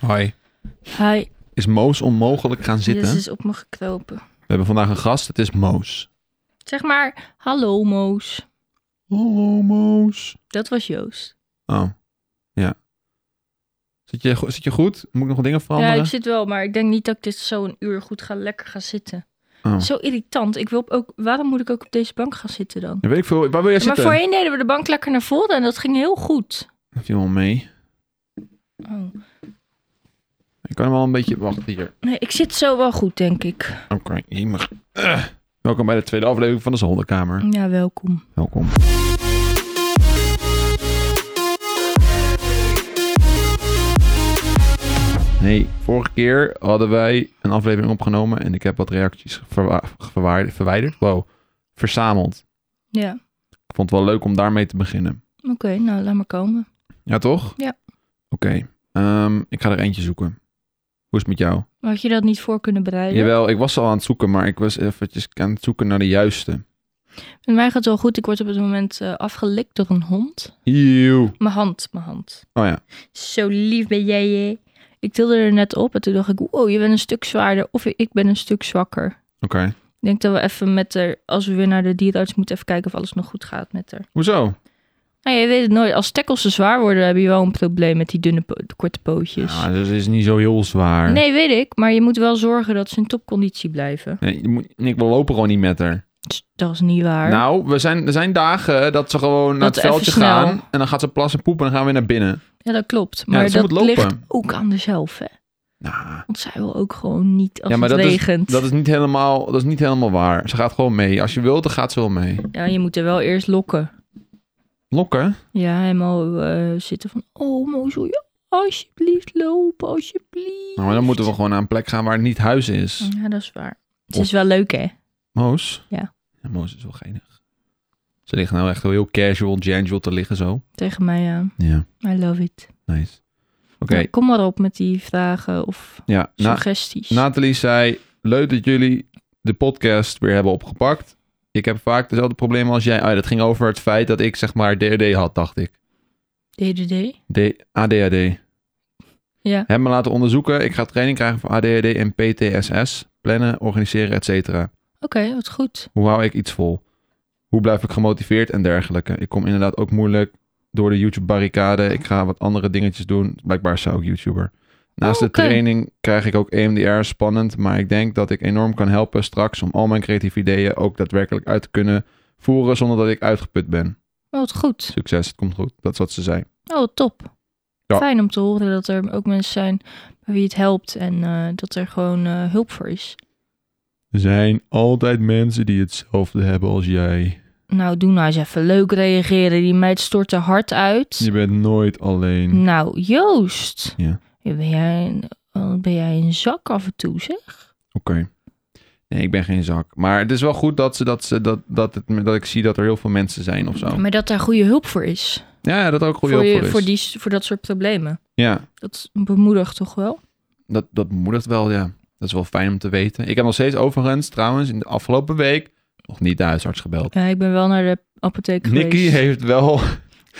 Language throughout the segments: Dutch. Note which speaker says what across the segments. Speaker 1: Hoi.
Speaker 2: Hij
Speaker 1: Is Moos onmogelijk gaan zitten?
Speaker 2: is op me gekropen.
Speaker 1: We hebben vandaag een gast, het is Moos.
Speaker 2: Zeg maar, hallo Moos.
Speaker 1: Hallo Moos.
Speaker 2: Dat was Joost.
Speaker 1: Oh, ja. Zit je, go- zit je goed? Moet ik nog wat dingen veranderen?
Speaker 2: Ja, ik zit wel, maar ik denk niet dat ik dit zo een uur goed ga lekker gaan zitten.
Speaker 1: Oh.
Speaker 2: Zo irritant. Ik wil op- ook, waarom moet ik ook op deze bank gaan zitten dan?
Speaker 1: Ja, weet ik veel. Waar wil jij
Speaker 2: Maar
Speaker 1: zitten?
Speaker 2: voorheen deden we de bank lekker naar voren en dat ging heel goed.
Speaker 1: Dat viel wel mee.
Speaker 2: Oh.
Speaker 1: Ik kan hem wel een beetje... Wacht, hier.
Speaker 2: Nee, ik zit zo wel goed, denk ik.
Speaker 1: Oké, hier mag... Ugh. Welkom bij de tweede aflevering van de Zolderkamer.
Speaker 2: Ja, welkom.
Speaker 1: Welkom. Hey, vorige keer hadden wij een aflevering opgenomen en ik heb wat reacties verwa- verwaar- verwijderd. Wow, verzameld.
Speaker 2: Ja,
Speaker 1: Ik vond het wel leuk om daarmee te beginnen.
Speaker 2: oké, nou laat maar komen.
Speaker 1: Ja, toch?
Speaker 2: Ja.
Speaker 1: Oké, ehm, ik ga er eentje zoeken. Hoe is het met jou?
Speaker 2: Had je dat niet voor kunnen bereiden?
Speaker 1: Jawel, ik was al aan het zoeken, maar ik was eventjes aan het zoeken naar de juiste.
Speaker 2: Met mij gaat het wel goed. Ik word op het moment eh, afgelikt door een hond.
Speaker 1: Eeuw.
Speaker 2: Mijn hand, mijn hand.
Speaker 1: Oh ja,
Speaker 2: Zo lief ben jij. hè? Ik tilde er net op en toen dacht ik, wow, je bent een stuk zwaarder of ik ben een stuk zwakker.
Speaker 1: oké.
Speaker 2: Ik denk dat we even met haar, als we weer naar de dierenarts moeten, even kijken of alles nog goed gaat met haar.
Speaker 1: Hoezo?
Speaker 2: Nou, je weet het nooit. Als tackles te zwaar worden, heb je wel een probleem met die dunne, po- korte pootjes.
Speaker 1: Nou, dat is niet zo heel zwaar.
Speaker 2: nee, weet ik. Maar je moet wel zorgen dat ze in topconditie blijven.
Speaker 1: Nee, je moet- Nick, we lopen gewoon niet met haar.
Speaker 2: Tss, Dat is niet waar.
Speaker 1: Nou, we zijn, er zijn dagen dat ze gewoon naar
Speaker 2: Dat
Speaker 1: het
Speaker 2: even
Speaker 1: veldje
Speaker 2: snel.
Speaker 1: gaan. En dan gaat ze plassen en poepen en dan gaan we weer naar binnen.
Speaker 2: ja, dat klopt. Maar
Speaker 1: dat ze
Speaker 2: dat
Speaker 1: moet lopen.
Speaker 2: ligt ook aan dezelfde. Hè?
Speaker 1: Nou,
Speaker 2: Want zij wil ook gewoon niet als
Speaker 1: Ja, maar
Speaker 2: het
Speaker 1: dat is-
Speaker 2: regent.
Speaker 1: dat is, niet helemaal, dat is niet helemaal waar. Ze gaat gewoon mee. Als je wilt, dan gaat ze wel mee.
Speaker 2: Ja, je moet er wel eerst lokken.
Speaker 1: Lokken?
Speaker 2: Ja, helemaal eh, zitten van, oh, mooi zo, ja, alsjeblieft lopen, alsjeblieft.
Speaker 1: Nou, maar dan moeten we gewoon naar een plek gaan waar het niet huis is.
Speaker 2: Ja, dat is waar. Het
Speaker 1: Of-
Speaker 2: is wel leuk, hè?
Speaker 1: Moos?
Speaker 2: Ja.
Speaker 1: Moos is wel geinig. Ze liggen nou echt wel heel casual, gentle te liggen zo.
Speaker 2: Tegen mij, ja.
Speaker 1: Ja,
Speaker 2: I love it.
Speaker 1: nice. Oké,
Speaker 2: Nou, kom maar op met die vragen of
Speaker 1: ja. Na,
Speaker 2: suggesties.
Speaker 1: Nathalie zei, leuk dat jullie de podcast weer hebben opgepakt. Ik heb vaak dezelfde problemen als jij. Ah, dat ging over het feit dat ik zeg maar DRD had, dacht ik.
Speaker 2: DDD?
Speaker 1: D ADHD.
Speaker 2: Ja.
Speaker 1: Heb me laten onderzoeken. Ik ga training krijgen voor ADHD en PTSS. Plannen, organiseren, et cetera.
Speaker 2: Oké, wat goed.
Speaker 1: Hoe hou ik iets vol? Hoe blijf ik gemotiveerd en dergelijke? Ik kom inderdaad ook moeilijk door de YouTube-barricade. Ik ga wat andere dingetjes doen. Blijkbaar zou ik YouTuber. Naast
Speaker 2: Oh, oké.
Speaker 1: de training krijg ik ook E EMDR, spannend. Maar ik denk dat ik enorm kan helpen straks om al mijn creatieve ideeën ook daadwerkelijk uit te kunnen voeren zonder dat ik uitgeput ben.
Speaker 2: Oh, wat goed.
Speaker 1: Succes, het komt goed. Dat is wat ze zei.
Speaker 2: Oh, top.
Speaker 1: Ja.
Speaker 2: Fijn om te horen dat er ook mensen zijn bij wie het helpt en eh, dat er gewoon eh, hulp voor is.
Speaker 1: Er zijn altijd mensen die hetzelfde hebben als jij.
Speaker 2: Nou, doe nou eens even leuk reageren. Die meid stort er hard uit.
Speaker 1: bent nooit alleen.
Speaker 2: Nou, Joost.
Speaker 1: Hm. Ja.
Speaker 2: Ben jij, een, oh, ben jij een zak af en toe, zeg?
Speaker 1: Oké. Nee, ik ben geen zak. Maar het is wel goed dat, ze, dat, ze, dat, dat, het, dat ik zie dat er heel veel mensen zijn of zo.
Speaker 2: Maar dat daar goede hulp voor is.
Speaker 1: Ja, ja, dat er ook goede
Speaker 2: voor,
Speaker 1: hulp
Speaker 2: je-
Speaker 1: voor is.
Speaker 2: voor, die, voor dat soort problemen.
Speaker 1: Ja,
Speaker 2: Dat bemoedigt toch wel?
Speaker 1: dat, dat bemoedigt wel, ja. Dat is wel fijn om te weten. Ik heb nog steeds overigens, trouwens, in de afgelopen week nog niet de huisarts gebeld.
Speaker 2: Ja, ik ben wel naar de apotheek geweest.
Speaker 1: Nicky heeft wel...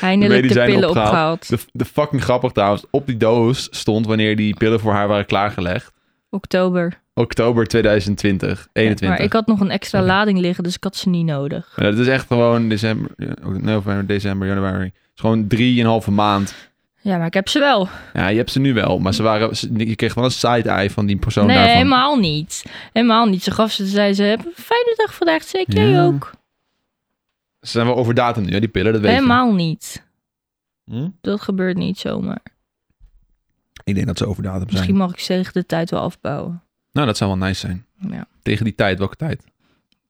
Speaker 2: Eindelijk de
Speaker 1: medicijnen
Speaker 2: pillen
Speaker 1: opgehaald.
Speaker 2: opgehaald.
Speaker 1: De, de fucking grappig trouwens, op die doos stond wanneer die pillen voor haar waren klaargelegd.
Speaker 2: Oktober.
Speaker 1: Oktober 2020, 21.
Speaker 2: Maar ik had nog een extra
Speaker 1: Sorry.
Speaker 2: lading liggen, dus ik had ze niet nodig.
Speaker 1: Maar dat is echt gewoon december, ja, ook november, december, januari. Het is gewoon drieënhalve maand.
Speaker 2: Ja, maar ik heb ze wel.
Speaker 1: Ja, je hebt ze nu wel, maar ze waren, ze- je kreeg wel een side-eye van die persoon
Speaker 2: nee,
Speaker 1: daarvan.
Speaker 2: helemaal niet. Helemaal niet. Ze gaf ze, zei ze, heb een fijne dag vandaag. Zeker jij
Speaker 1: Ja,
Speaker 2: ook.
Speaker 1: Ze zijn wel over datum nu, hè, die pillen, dat weet
Speaker 2: Helemaal niet.
Speaker 1: je. Hm?
Speaker 2: Dat gebeurt niet zomaar.
Speaker 1: Ik denk dat ze over datum zijn.
Speaker 2: Misschien mag ik ze tegen de tijd wel afbouwen.
Speaker 1: Nou, dat zou wel nice zijn.
Speaker 2: Ja.
Speaker 1: Tegen die tijd, welke tijd?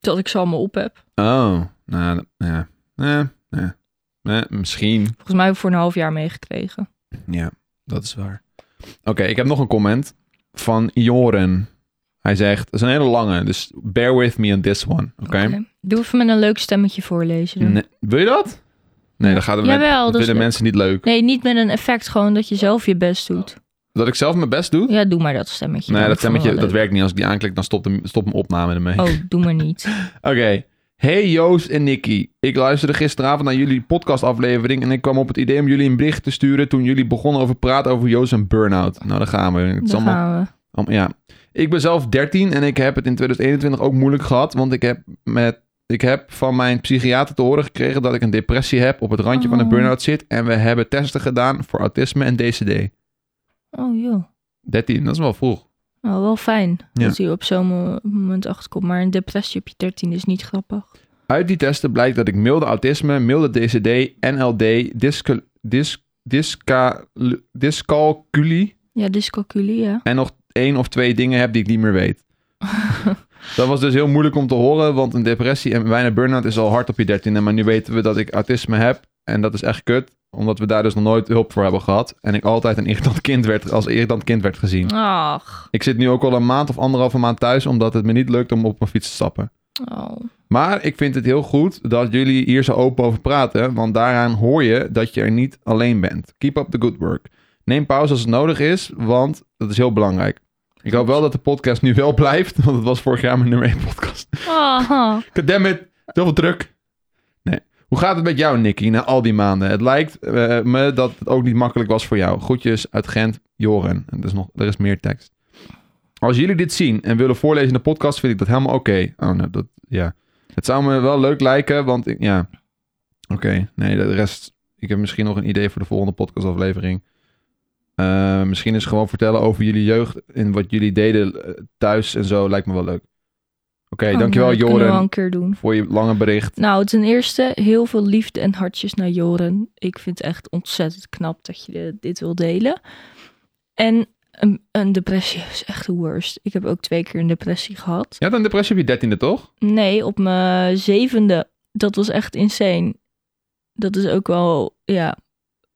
Speaker 2: Dat ik ze allemaal op heb.
Speaker 1: Oh, nou, dat- ja. Eh, eh, eh, misschien.
Speaker 2: Volgens mij heb ik voor een half jaar meegekregen.
Speaker 1: Ja, dat is waar. Oké, ik heb nog een comment van Joren. Hij zegt, het is een hele lange, dus bear with me on this one, oké?
Speaker 2: Oké. Doe even met een leuk stemmetje voorlezen. dan.
Speaker 1: Nee, wil je dat? Nee, dan gaat het met-
Speaker 2: Jawel, dus
Speaker 1: dat
Speaker 2: dat is
Speaker 1: vinden
Speaker 2: leuk.
Speaker 1: mensen niet leuk.
Speaker 2: Nee, niet met een effect, gewoon dat je zelf je best doet.
Speaker 1: Dat ik zelf mijn best doe?
Speaker 2: Ja, doe maar dat stemmetje.
Speaker 1: nee,
Speaker 2: dan.
Speaker 1: dat
Speaker 2: Ik vond
Speaker 1: stemmetje,
Speaker 2: het
Speaker 1: dat
Speaker 2: wel Oh.
Speaker 1: werkt niet. Als ik die aanklik, dan stopt, de, stopt mijn opname ermee.
Speaker 2: leuk. Oh, doe maar niet.
Speaker 1: Oké. Hey Joost en Nicky, ik luisterde gisteravond naar jullie podcastaflevering en ik kwam op het idee om jullie een bericht te sturen toen jullie begonnen over praten over Joost en burn-out. Nou, daar gaan we. Het is
Speaker 2: Daar
Speaker 1: allemaal
Speaker 2: gaan we.
Speaker 1: Om- ja. Ik ben zelf 13 en ik heb het in 2021 ook moeilijk gehad, want ik heb, met, ik heb van mijn psychiater te horen gekregen dat ik een depressie heb, op het randje van een
Speaker 2: Oh.
Speaker 1: burn-out zit en we hebben testen gedaan voor autisme en DCD.
Speaker 2: Oh joh.
Speaker 1: 13, dat is wel vroeg.
Speaker 2: Nou, wel fijn
Speaker 1: Ja.
Speaker 2: dat hij op zo'n mo- moment achterkomt. Maar een depressie op je 13 is niet grappig.
Speaker 1: Uit die testen blijkt dat ik milde autisme, milde DCD, NLD, discal, dis, disca, dyscalculie
Speaker 2: Ja, dyscalculie, ja.
Speaker 1: en nog één of twee dingen heb die ik niet meer weet. Dat was dus heel moeilijk om te horen, want een depressie en bijna burn-out is al hard op je dertiende. Maar nu weten we dat ik autisme heb en dat is echt kut, omdat we daar dus nog nooit hulp voor hebben gehad. En ik altijd een irritant kind werd, als irritant kind werd gezien.
Speaker 2: Ach.
Speaker 1: Ik zit nu ook al een maand of anderhalve maand thuis, omdat het me niet lukt om op mijn fiets te stappen.
Speaker 2: Oh.
Speaker 1: Maar ik vind het heel goed dat jullie hier zo open over praten, want daaraan hoor je dat je er niet alleen bent. Keep up the good work. Neem pauze als het nodig is, want dat is heel belangrijk. Ik hoop wel dat de podcast nu wel blijft, want het was vorig jaar mijn nummer 1 podcast.
Speaker 2: Oh.
Speaker 1: Goddammit, zoveel druk. Nee. Hoe gaat het met jou, Nicky, na al die maanden? Het lijkt eh, me dat het ook niet makkelijk was voor jou. Groetjes uit Gent, Joren. En er is, nog, er is meer tekst. Als jullie dit zien en willen voorlezen in de podcast, vind ik dat helemaal oké. Oh, nou, dat, ja. Het zou me wel leuk lijken, want ik, ja. Oké, nee, de rest. Ik heb misschien nog een idee voor de volgende podcastaflevering. Eh, misschien is gewoon vertellen over jullie jeugd en wat jullie deden eh, thuis en zo. Lijkt me wel leuk. Oké,
Speaker 2: Oh,
Speaker 1: dankjewel,
Speaker 2: nou, dat Kunnen we wel
Speaker 1: Joren
Speaker 2: een keer doen.
Speaker 1: voor je lange bericht.
Speaker 2: Nou, ten eerste heel veel liefde en hartjes naar Joren. Ik vind het echt ontzettend knap dat je de- dit wil delen. En een, een depressie is echt de worst. Ik heb ook twee keer een depressie gehad.
Speaker 1: Je had een depressie op je dertiende, toch?
Speaker 2: Nee, op mijn zevende. Dat was echt insane. Dat is ook wel, ja.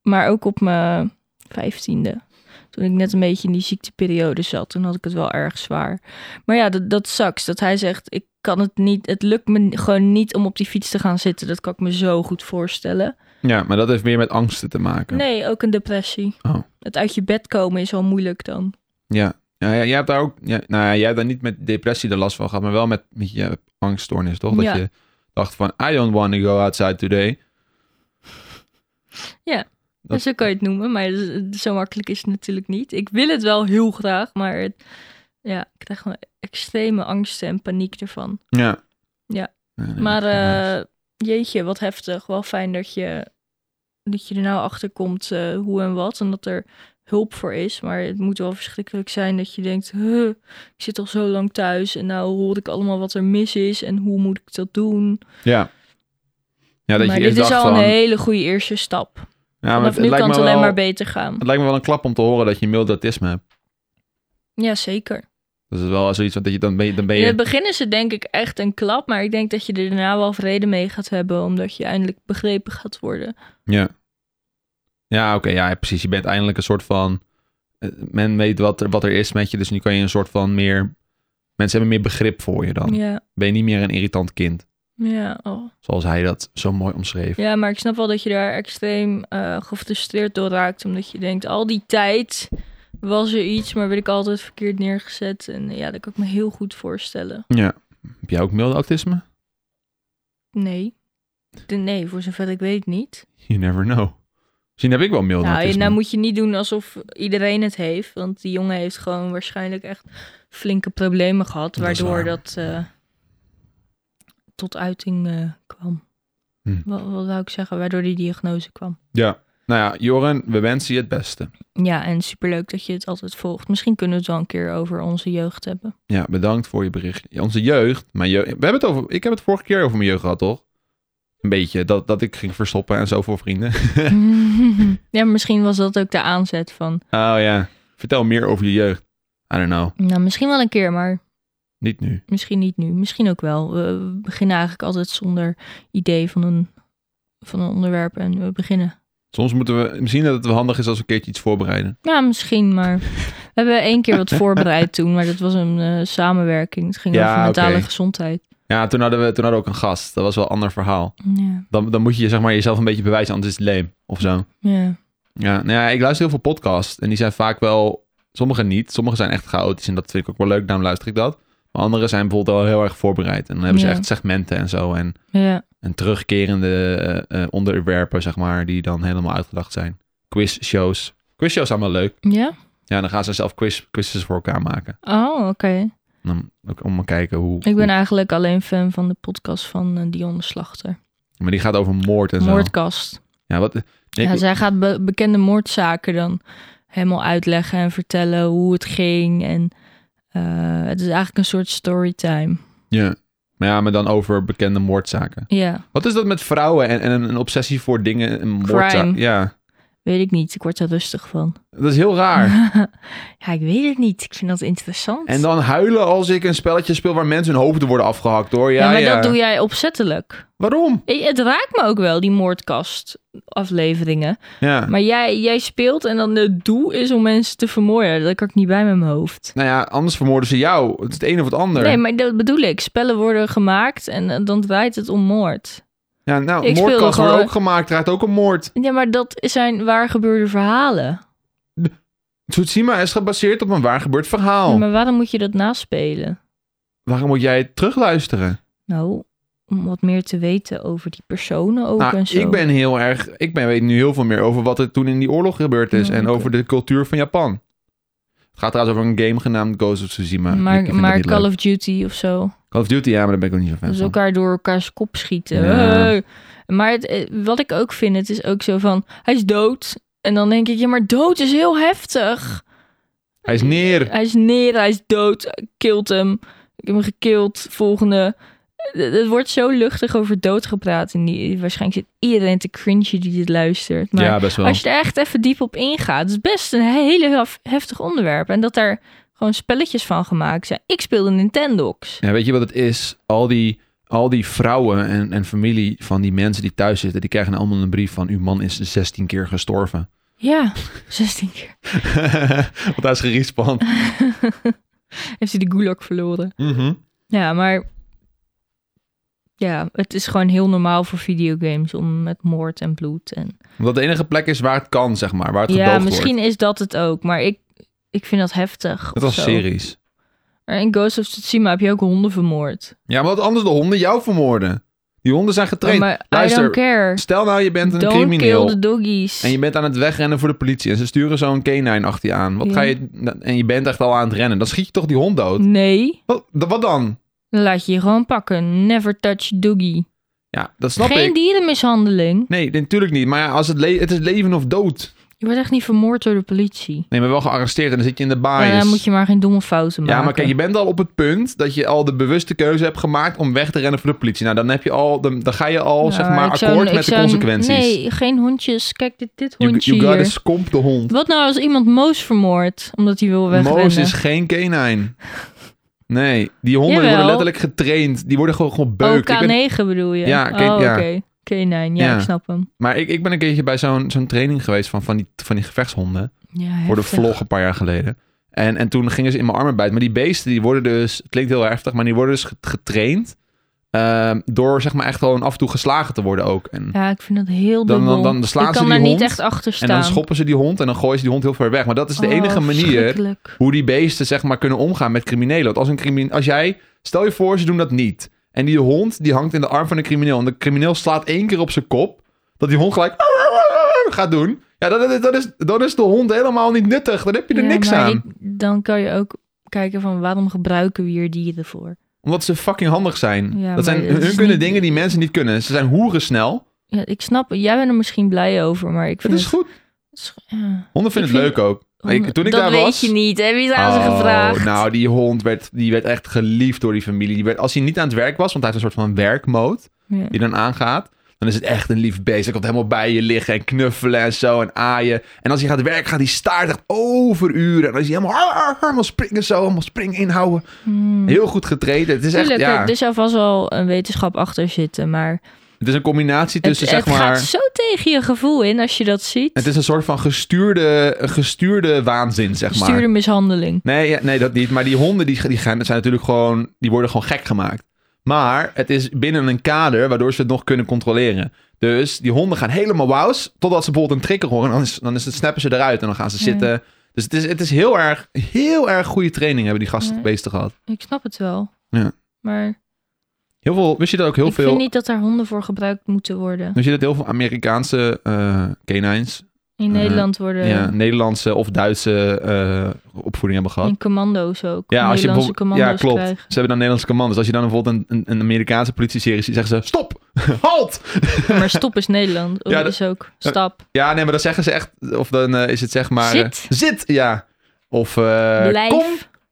Speaker 2: Maar ook op mijn vijftiende. Toen ik net een beetje in die ziekteperiode zat, toen had ik het wel erg zwaar. Maar ja, dat, dat sucks. Dat hij zegt, ik kan het niet, het lukt me gewoon niet om op die fiets te gaan zitten. Dat kan ik me zo goed voorstellen.
Speaker 1: Ja, maar dat heeft meer met angsten te maken.
Speaker 2: Nee, ook een depressie.
Speaker 1: Oh.
Speaker 2: Het uit je bed komen is al moeilijk dan.
Speaker 1: Ja. Ja, ja, jij hebt daar ook, ja, nou ja, jij hebt daar niet met depressie de last van gehad, maar wel met, met je angststoornis, toch? Dat
Speaker 2: Ja.
Speaker 1: je dacht van, I don't want to go outside today. Dat-
Speaker 2: Dus zo kan je het noemen, maar z- zo makkelijk is het natuurlijk niet. Ik wil het wel heel graag, maar het- ja, ik krijg gewoon extreme angsten en paniek ervan.
Speaker 1: Ja.
Speaker 2: Ja.
Speaker 1: nee,
Speaker 2: maar
Speaker 1: dat is wel nice.
Speaker 2: eh, jeetje, wat heftig. Wel fijn dat je, dat je er nou achter komt eh, hoe en wat en dat er hulp voor is. Maar het moet wel verschrikkelijk zijn dat je denkt, huh, ik zit al zo lang thuis en nou hoor ik allemaal wat er mis is en hoe moet ik dat doen.
Speaker 1: Ja. Ja, dat
Speaker 2: maar
Speaker 1: je
Speaker 2: dit
Speaker 1: eerst
Speaker 2: is
Speaker 1: dacht
Speaker 2: al
Speaker 1: van...
Speaker 2: een hele goede eerste stap.
Speaker 1: ja, maar
Speaker 2: Vanaf
Speaker 1: het,
Speaker 2: nu
Speaker 1: lijkt
Speaker 2: kan
Speaker 1: me
Speaker 2: het alleen
Speaker 1: wel,
Speaker 2: maar beter gaan.
Speaker 1: het lijkt me wel een klap om te horen dat je mild autisme hebt.
Speaker 2: Ja, zeker.
Speaker 1: Dat is wel zoiets wat dat je dan ben je... Dan ben je
Speaker 2: In het begin is het denk ik echt een klap, maar ik denk dat je er daarna wel vrede mee gaat hebben, omdat je eindelijk begrepen gaat worden.
Speaker 1: Ja. Ja, oké, ja, precies. Je bent eindelijk een soort van. eh, Men weet wat er, wat er is met je, dus nu kan je een soort van meer. Mensen hebben meer begrip voor je dan.
Speaker 2: Ja,
Speaker 1: Ben je niet meer een irritant kind,
Speaker 2: ja, oh.
Speaker 1: zoals hij dat zo mooi omschreef.
Speaker 2: ja, maar ik snap wel dat je daar extreem eh, gefrustreerd door raakt, omdat je denkt, al die tijd was er iets, maar werd ik altijd verkeerd neergezet. En eh, ja, dat kan ik me heel goed voorstellen.
Speaker 1: Heb jij ook milde autisme?
Speaker 2: Nee. De- Nee, voor zover ik weet niet.
Speaker 1: You never know. Misschien heb ik wel milde
Speaker 2: Nou, je-
Speaker 1: autisme.
Speaker 2: nou moet je niet doen alsof iedereen het heeft. Want die jongen heeft gewoon waarschijnlijk echt flinke problemen gehad.
Speaker 1: Dat is waar.
Speaker 2: Waardoor dat, eh, tot uiting eh, kwam.
Speaker 1: Hm.
Speaker 2: Wat, wat wou ik zeggen? Waardoor die diagnose kwam.
Speaker 1: Ja. Nou ja, Joren, we wensen je het beste.
Speaker 2: Ja, en superleuk dat je het altijd volgt. Misschien kunnen we het wel een keer over onze jeugd hebben.
Speaker 1: Ja, bedankt voor je bericht. Ja, Onze jeugd, mijn jeugd. We hebben het over. Ik heb het vorige keer over mijn jeugd gehad, toch? Een beetje. Dat, dat ik ging verstoppen en zo voor vrienden.
Speaker 2: ja, misschien was dat ook de aanzet van...
Speaker 1: Oh ja. Vertel meer over je jeugd. I don't know.
Speaker 2: Nou, misschien wel een keer, maar
Speaker 1: Niet nu.
Speaker 2: misschien niet nu. Misschien ook wel. We we beginnen eigenlijk altijd zonder idee van een, van een onderwerp en we beginnen.
Speaker 1: Soms moeten we misschien dat het wel handig is als we een keertje iets voorbereiden.
Speaker 2: Ja, misschien, maar we hebben één keer wat voorbereid toen, maar dat was een eh, samenwerking. Het ging
Speaker 1: Ja,
Speaker 2: over mentale
Speaker 1: oké.
Speaker 2: gezondheid.
Speaker 1: Ja, toen hadden we toen hadden we ook een gast. Dat was wel een ander verhaal.
Speaker 2: Ja,
Speaker 1: Dan, dan moet je zeg maar, jezelf een beetje bewijzen, anders is het leem of zo.
Speaker 2: ja.
Speaker 1: Ja, nou ja, ik luister heel veel podcasts en die zijn vaak wel... Sommige niet, sommige zijn echt chaotisch en dat vind ik ook wel leuk, daarom luister ik dat. Maar Anderen zijn bijvoorbeeld al heel erg voorbereid. En dan hebben ze
Speaker 2: Ja.
Speaker 1: echt segmenten en zo. En,
Speaker 2: Ja.
Speaker 1: en terugkerende eh, eh, onderwerpen, zeg maar, die dan helemaal uitgedacht zijn. Quiz shows. Quiz shows zijn wel leuk.
Speaker 2: Ja?
Speaker 1: Ja, dan gaan ze zelf quiz, quizzes voor elkaar maken.
Speaker 2: Oh, oké.
Speaker 1: En dan ook om te kijken hoe...
Speaker 2: Ik ben
Speaker 1: hoe-
Speaker 2: eigenlijk alleen fan van de podcast van eh, Dionne Slachter.
Speaker 1: maar die gaat over moord en zo.
Speaker 2: Moordkast.
Speaker 1: Ja, wat... ik-
Speaker 2: Ja, zij gaat be- bekende moordzaken dan helemaal uitleggen en vertellen hoe het ging. En eh, het is eigenlijk een soort storytime.
Speaker 1: ja. Maar ja, maar dan over bekende moordzaken.
Speaker 2: Ja,
Speaker 1: Wat is dat met vrouwen en, en een, een obsessie voor dingen? Een moordzaak?
Speaker 2: Crime.
Speaker 1: Ja,
Speaker 2: weet ik niet. Ik word daar rustig van.
Speaker 1: dat is heel raar.
Speaker 2: ja, ik weet het niet. Ik vind dat interessant.
Speaker 1: En dan huilen als ik een spelletje speel waar mensen hun hoofden worden afgehakt hoor. Ja,
Speaker 2: ja,
Speaker 1: ja,
Speaker 2: maar dat doe jij opzettelijk.
Speaker 1: Waarom?
Speaker 2: Ik- Eh, Het raakt me ook wel, die moordkast afleveringen.
Speaker 1: Ja.
Speaker 2: Maar jij, jij speelt en dan het doel is om mensen te vermoorden. Dat kan ik niet bij met mijn hoofd.
Speaker 1: Nou ja, anders vermoorden ze jou. Het is het een of het ander.
Speaker 2: Nee, maar dat bedoel ik. Spellen worden gemaakt en eh, dan draait het om moord.
Speaker 1: ja, nou,
Speaker 2: ik speelde
Speaker 1: moordkast wordt
Speaker 2: gewoon-
Speaker 1: ook gemaakt. Draait ook een moord.
Speaker 2: Ja, maar dat zijn waar gebeurde verhalen.
Speaker 1: Tsutsima is gebaseerd op een waar gebeurd verhaal.
Speaker 2: Ja, maar waarom moet je dat naspelen?
Speaker 1: Waarom moet jij het terugluisteren?
Speaker 2: Nou, om wat meer te weten over die personen ook
Speaker 1: Nou,
Speaker 2: en zo.
Speaker 1: ik ben heel erg. Ik ben, weet nu heel veel meer over wat er toen in die oorlog gebeurd is.
Speaker 2: Ja,
Speaker 1: en
Speaker 2: oké.
Speaker 1: over de cultuur van Japan. Het gaat trouwens over een game genaamd Ghost of Tsushima. Ik
Speaker 2: maar
Speaker 1: vind dat
Speaker 2: maar
Speaker 1: niet
Speaker 2: Call
Speaker 1: leuk.
Speaker 2: of Duty of zo.
Speaker 1: Call of Duty, ja, maar daar ben ik ook niet zo fan
Speaker 2: Dus
Speaker 1: van.
Speaker 2: elkaar door elkaars kop schieten.
Speaker 1: Ja.
Speaker 2: Hey. Maar het, eh, wat ik ook vind, het is ook zo van... Hij is dood. En dan denk ik, ja, maar dood is heel heftig.
Speaker 1: Hij is neer.
Speaker 2: Hij is neer, hij is dood. Kilt hem. Ik heb hem gekild. Volgende. Eh, Het wordt zo luchtig over dood gepraat. En die, waarschijnlijk zit iedereen te cringen die dit luistert. Maar
Speaker 1: ja, best wel.
Speaker 2: als je er echt even diep op ingaat... Het is best een hele hef- heftig onderwerp. En dat daar gewoon spelletjes van gemaakt zijn. Ik speelde Nintendox.
Speaker 1: Ja, weet je wat het is? Al die, al die vrouwen en, en familie van die mensen die thuis zitten, die krijgen allemaal een brief van uw man is 16 keer gestorven.
Speaker 2: Ja, 16 keer.
Speaker 1: Want hij is gerespond.
Speaker 2: heeft hij de gulag verloren.
Speaker 1: Mhm.
Speaker 2: Ja, maar... Ja, het is gewoon heel normaal voor videogames om met moord en bloed en...
Speaker 1: Omdat de enige plek is waar het kan, zeg maar. Waar het
Speaker 2: Ja,
Speaker 1: gedoogd
Speaker 2: misschien
Speaker 1: wordt.
Speaker 2: is dat het ook, maar ik, ik vind dat heftig.
Speaker 1: Dat
Speaker 2: of
Speaker 1: was
Speaker 2: zo.
Speaker 1: series.
Speaker 2: Maar in Ghost of Tsushima heb je ook honden vermoord.
Speaker 1: Ja, maar wat anders de honden jou vermoorden. Die honden zijn getraind.
Speaker 2: maar I
Speaker 1: Luister,
Speaker 2: don't care.
Speaker 1: stel nou je bent een
Speaker 2: Don't
Speaker 1: crimineel.
Speaker 2: kill the doggies.
Speaker 1: En je bent aan het wegrennen voor de politie. En ze sturen zo'n canine achter je aan. Wat
Speaker 2: Ja.
Speaker 1: ga je, en je bent echt al aan het rennen. Dan schiet je toch die hond dood?
Speaker 2: Nee,
Speaker 1: Wat, wat dan?
Speaker 2: dan laat je je gewoon pakken. Never touch doggy.
Speaker 1: Ja, dat snap
Speaker 2: Geen
Speaker 1: ik.
Speaker 2: dierenmishandeling.
Speaker 1: Nee, nee, natuurlijk niet. Maar ja, als het, le- het is leven of dood.
Speaker 2: Je wordt echt niet vermoord door de politie.
Speaker 1: Nee, maar wel gearresteerd en dan zit je in de
Speaker 2: Maar
Speaker 1: baai.
Speaker 2: dan moet je maar geen domme fouten maken.
Speaker 1: Ja, maar kijk, je bent al op het punt dat je al de bewuste keuze hebt gemaakt om weg te rennen voor de politie. Nou, dan, heb je al, dan, dan ga je al,
Speaker 2: Nou,
Speaker 1: zeg maar,
Speaker 2: ik
Speaker 1: akkoord
Speaker 2: zou- ik
Speaker 1: met de
Speaker 2: zou-
Speaker 1: consequenties.
Speaker 2: Nee, geen hondjes. Kijk, dit, dit
Speaker 1: you,
Speaker 2: hondje
Speaker 1: you gotta
Speaker 2: hier.
Speaker 1: skomp de hond.
Speaker 2: Wat nou als iemand Moos vermoordt, omdat hij wil wegrennen? Oh,
Speaker 1: Moos is geen canine. Nee, die honden
Speaker 2: Jawel.
Speaker 1: worden letterlijk getraind. Die worden gewoon gebeukt.
Speaker 2: Oh,
Speaker 1: Ik
Speaker 2: K9
Speaker 1: ben-
Speaker 2: bedoel je?
Speaker 1: Ja, K-
Speaker 2: oh, oké.
Speaker 1: ja.
Speaker 2: K9, ja,
Speaker 1: Ja.
Speaker 2: ik snap hem.
Speaker 1: maar ik, ik ben een keertje bij zo'n zo'n training geweest van, van, die, van die gevechtshonden.
Speaker 2: Ja,
Speaker 1: voor de
Speaker 2: heftig.
Speaker 1: vlog een paar jaar geleden. En, en toen gingen ze in mijn armen bijten. Maar die beesten, die worden dus, het klinkt heel heftig, maar die worden dus ge- getraind ehm, door zeg maar echt gewoon af en toe geslagen te worden ook. En,
Speaker 2: Ja, ik vind dat heel
Speaker 1: Dan-
Speaker 2: dubbel.
Speaker 1: dan- dan slaan
Speaker 2: ik
Speaker 1: ze
Speaker 2: kan
Speaker 1: die
Speaker 2: daar niet
Speaker 1: hond
Speaker 2: echt achter
Speaker 1: en
Speaker 2: staan.
Speaker 1: dan schoppen ze die hond en dan gooien ze die hond heel ver weg. Maar dat is de
Speaker 2: Oh,
Speaker 1: enige manier
Speaker 2: verschrikkelijk.
Speaker 1: hoe die beesten zeg maar kunnen omgaan met criminelen. Want als, een crimin als jij, stel je voor ze doen dat niet. En die hond die hangt in de arm van een crimineel. En de crimineel slaat één keer op zijn kop. Dat die hond gelijk gaat doen. Ja, dan, dan- dan, is, dan is de hond helemaal niet nuttig. Dan heb je er
Speaker 2: Ja,
Speaker 1: niks
Speaker 2: maar
Speaker 1: aan.
Speaker 2: ik- dan kan je ook kijken van waarom gebruiken we hier dieren voor?
Speaker 1: Omdat ze fucking handig zijn.
Speaker 2: Ja, maar
Speaker 1: dat zijn
Speaker 2: dat
Speaker 1: hun
Speaker 2: is
Speaker 1: kunnen
Speaker 2: niet-
Speaker 1: dingen die mensen niet kunnen. Ze zijn hoeren snel.
Speaker 2: Ja, ik snap, jij bent er misschien blij over, maar ik
Speaker 1: Het
Speaker 2: vind
Speaker 1: is goed.
Speaker 2: het- ja.
Speaker 1: Honden vinden
Speaker 2: Ik
Speaker 1: het
Speaker 2: vind-
Speaker 1: leuk ook. Maar ik- toen ik
Speaker 2: dat
Speaker 1: daar
Speaker 2: weet
Speaker 1: was.
Speaker 2: je niet, hè? Wie is aan ze
Speaker 1: Oh,
Speaker 2: gevraagd?
Speaker 1: Nou, die hond werd, die werd echt geliefd door die familie. Die werd, als hij niet aan het werk was, want hij heeft een soort van werkmode
Speaker 2: Ja.
Speaker 1: die dan aangaat. Dan is het echt een lief beest. Hij komt helemaal bij je liggen en knuffelen en zo en aaien. En als hij gaat werken, gaat hij staart echt over uren. En dan is hij helemaal, "Arr, arr, arr," helemaal springen zo, helemaal spring inhouden.
Speaker 2: Hmm.
Speaker 1: Heel goed getreden. Het is echt,
Speaker 2: Tuurlijk,
Speaker 1: ja, Dus
Speaker 2: er zou vast wel een wetenschap achter zitten, maar
Speaker 1: het is een combinatie
Speaker 2: het,
Speaker 1: tussen zeg
Speaker 2: het
Speaker 1: maar...
Speaker 2: gaat zo tegen je gevoel in als je dat ziet.
Speaker 1: Het is een soort van gestuurde, gestuurde waanzin, zeg maar.
Speaker 2: Stuurde mishandeling.
Speaker 1: Nee, ja, nee, dat niet. Maar die honden die, die gaan, zijn natuurlijk gewoon, die worden gewoon gek gemaakt. Maar het is binnen een kader waardoor ze het nog kunnen controleren. Dus die honden gaan helemaal wauws, totdat ze bijvoorbeeld een trigger horen. En dan, is, dan is het, snappen ze eruit en dan gaan ze
Speaker 2: Ja.
Speaker 1: zitten. Dus het is, het is heel erg, heel erg goede training hebben die gasten
Speaker 2: Nee.
Speaker 1: beesten gehad.
Speaker 2: Ik snap het wel.
Speaker 1: Ja.
Speaker 2: Maar
Speaker 1: Heel veel, wist je dat ook heel
Speaker 2: ik
Speaker 1: veel...
Speaker 2: vind niet dat daar honden voor gebruikt moeten worden.
Speaker 1: Wist je dat heel veel Amerikaanse eh canines,
Speaker 2: In
Speaker 1: Eh,
Speaker 2: Nederland worden...
Speaker 1: ja, Nederlandse of Duitse eh, opvoeding hebben gehad?
Speaker 2: In commando's ook.
Speaker 1: Ja, als je
Speaker 2: Nederlandse
Speaker 1: bijvoorbeeld- ja,
Speaker 2: commando's
Speaker 1: klopt.
Speaker 2: krijgen.
Speaker 1: Ze hebben dan Nederlandse commando's. Als je dan bijvoorbeeld een, een, een Amerikaanse politie-serie ziet, zeggen ze: Stop! Halt!
Speaker 2: Maar stop is Nederland. Of
Speaker 1: Ja, dat- eh,
Speaker 2: is ook stap.
Speaker 1: Ja, nee, maar dan zeggen ze echt. Of dan eh, is het zeg maar. eh,
Speaker 2: Zit.
Speaker 1: zit, ja. Of eh,
Speaker 2: Blijf.
Speaker 1: kom,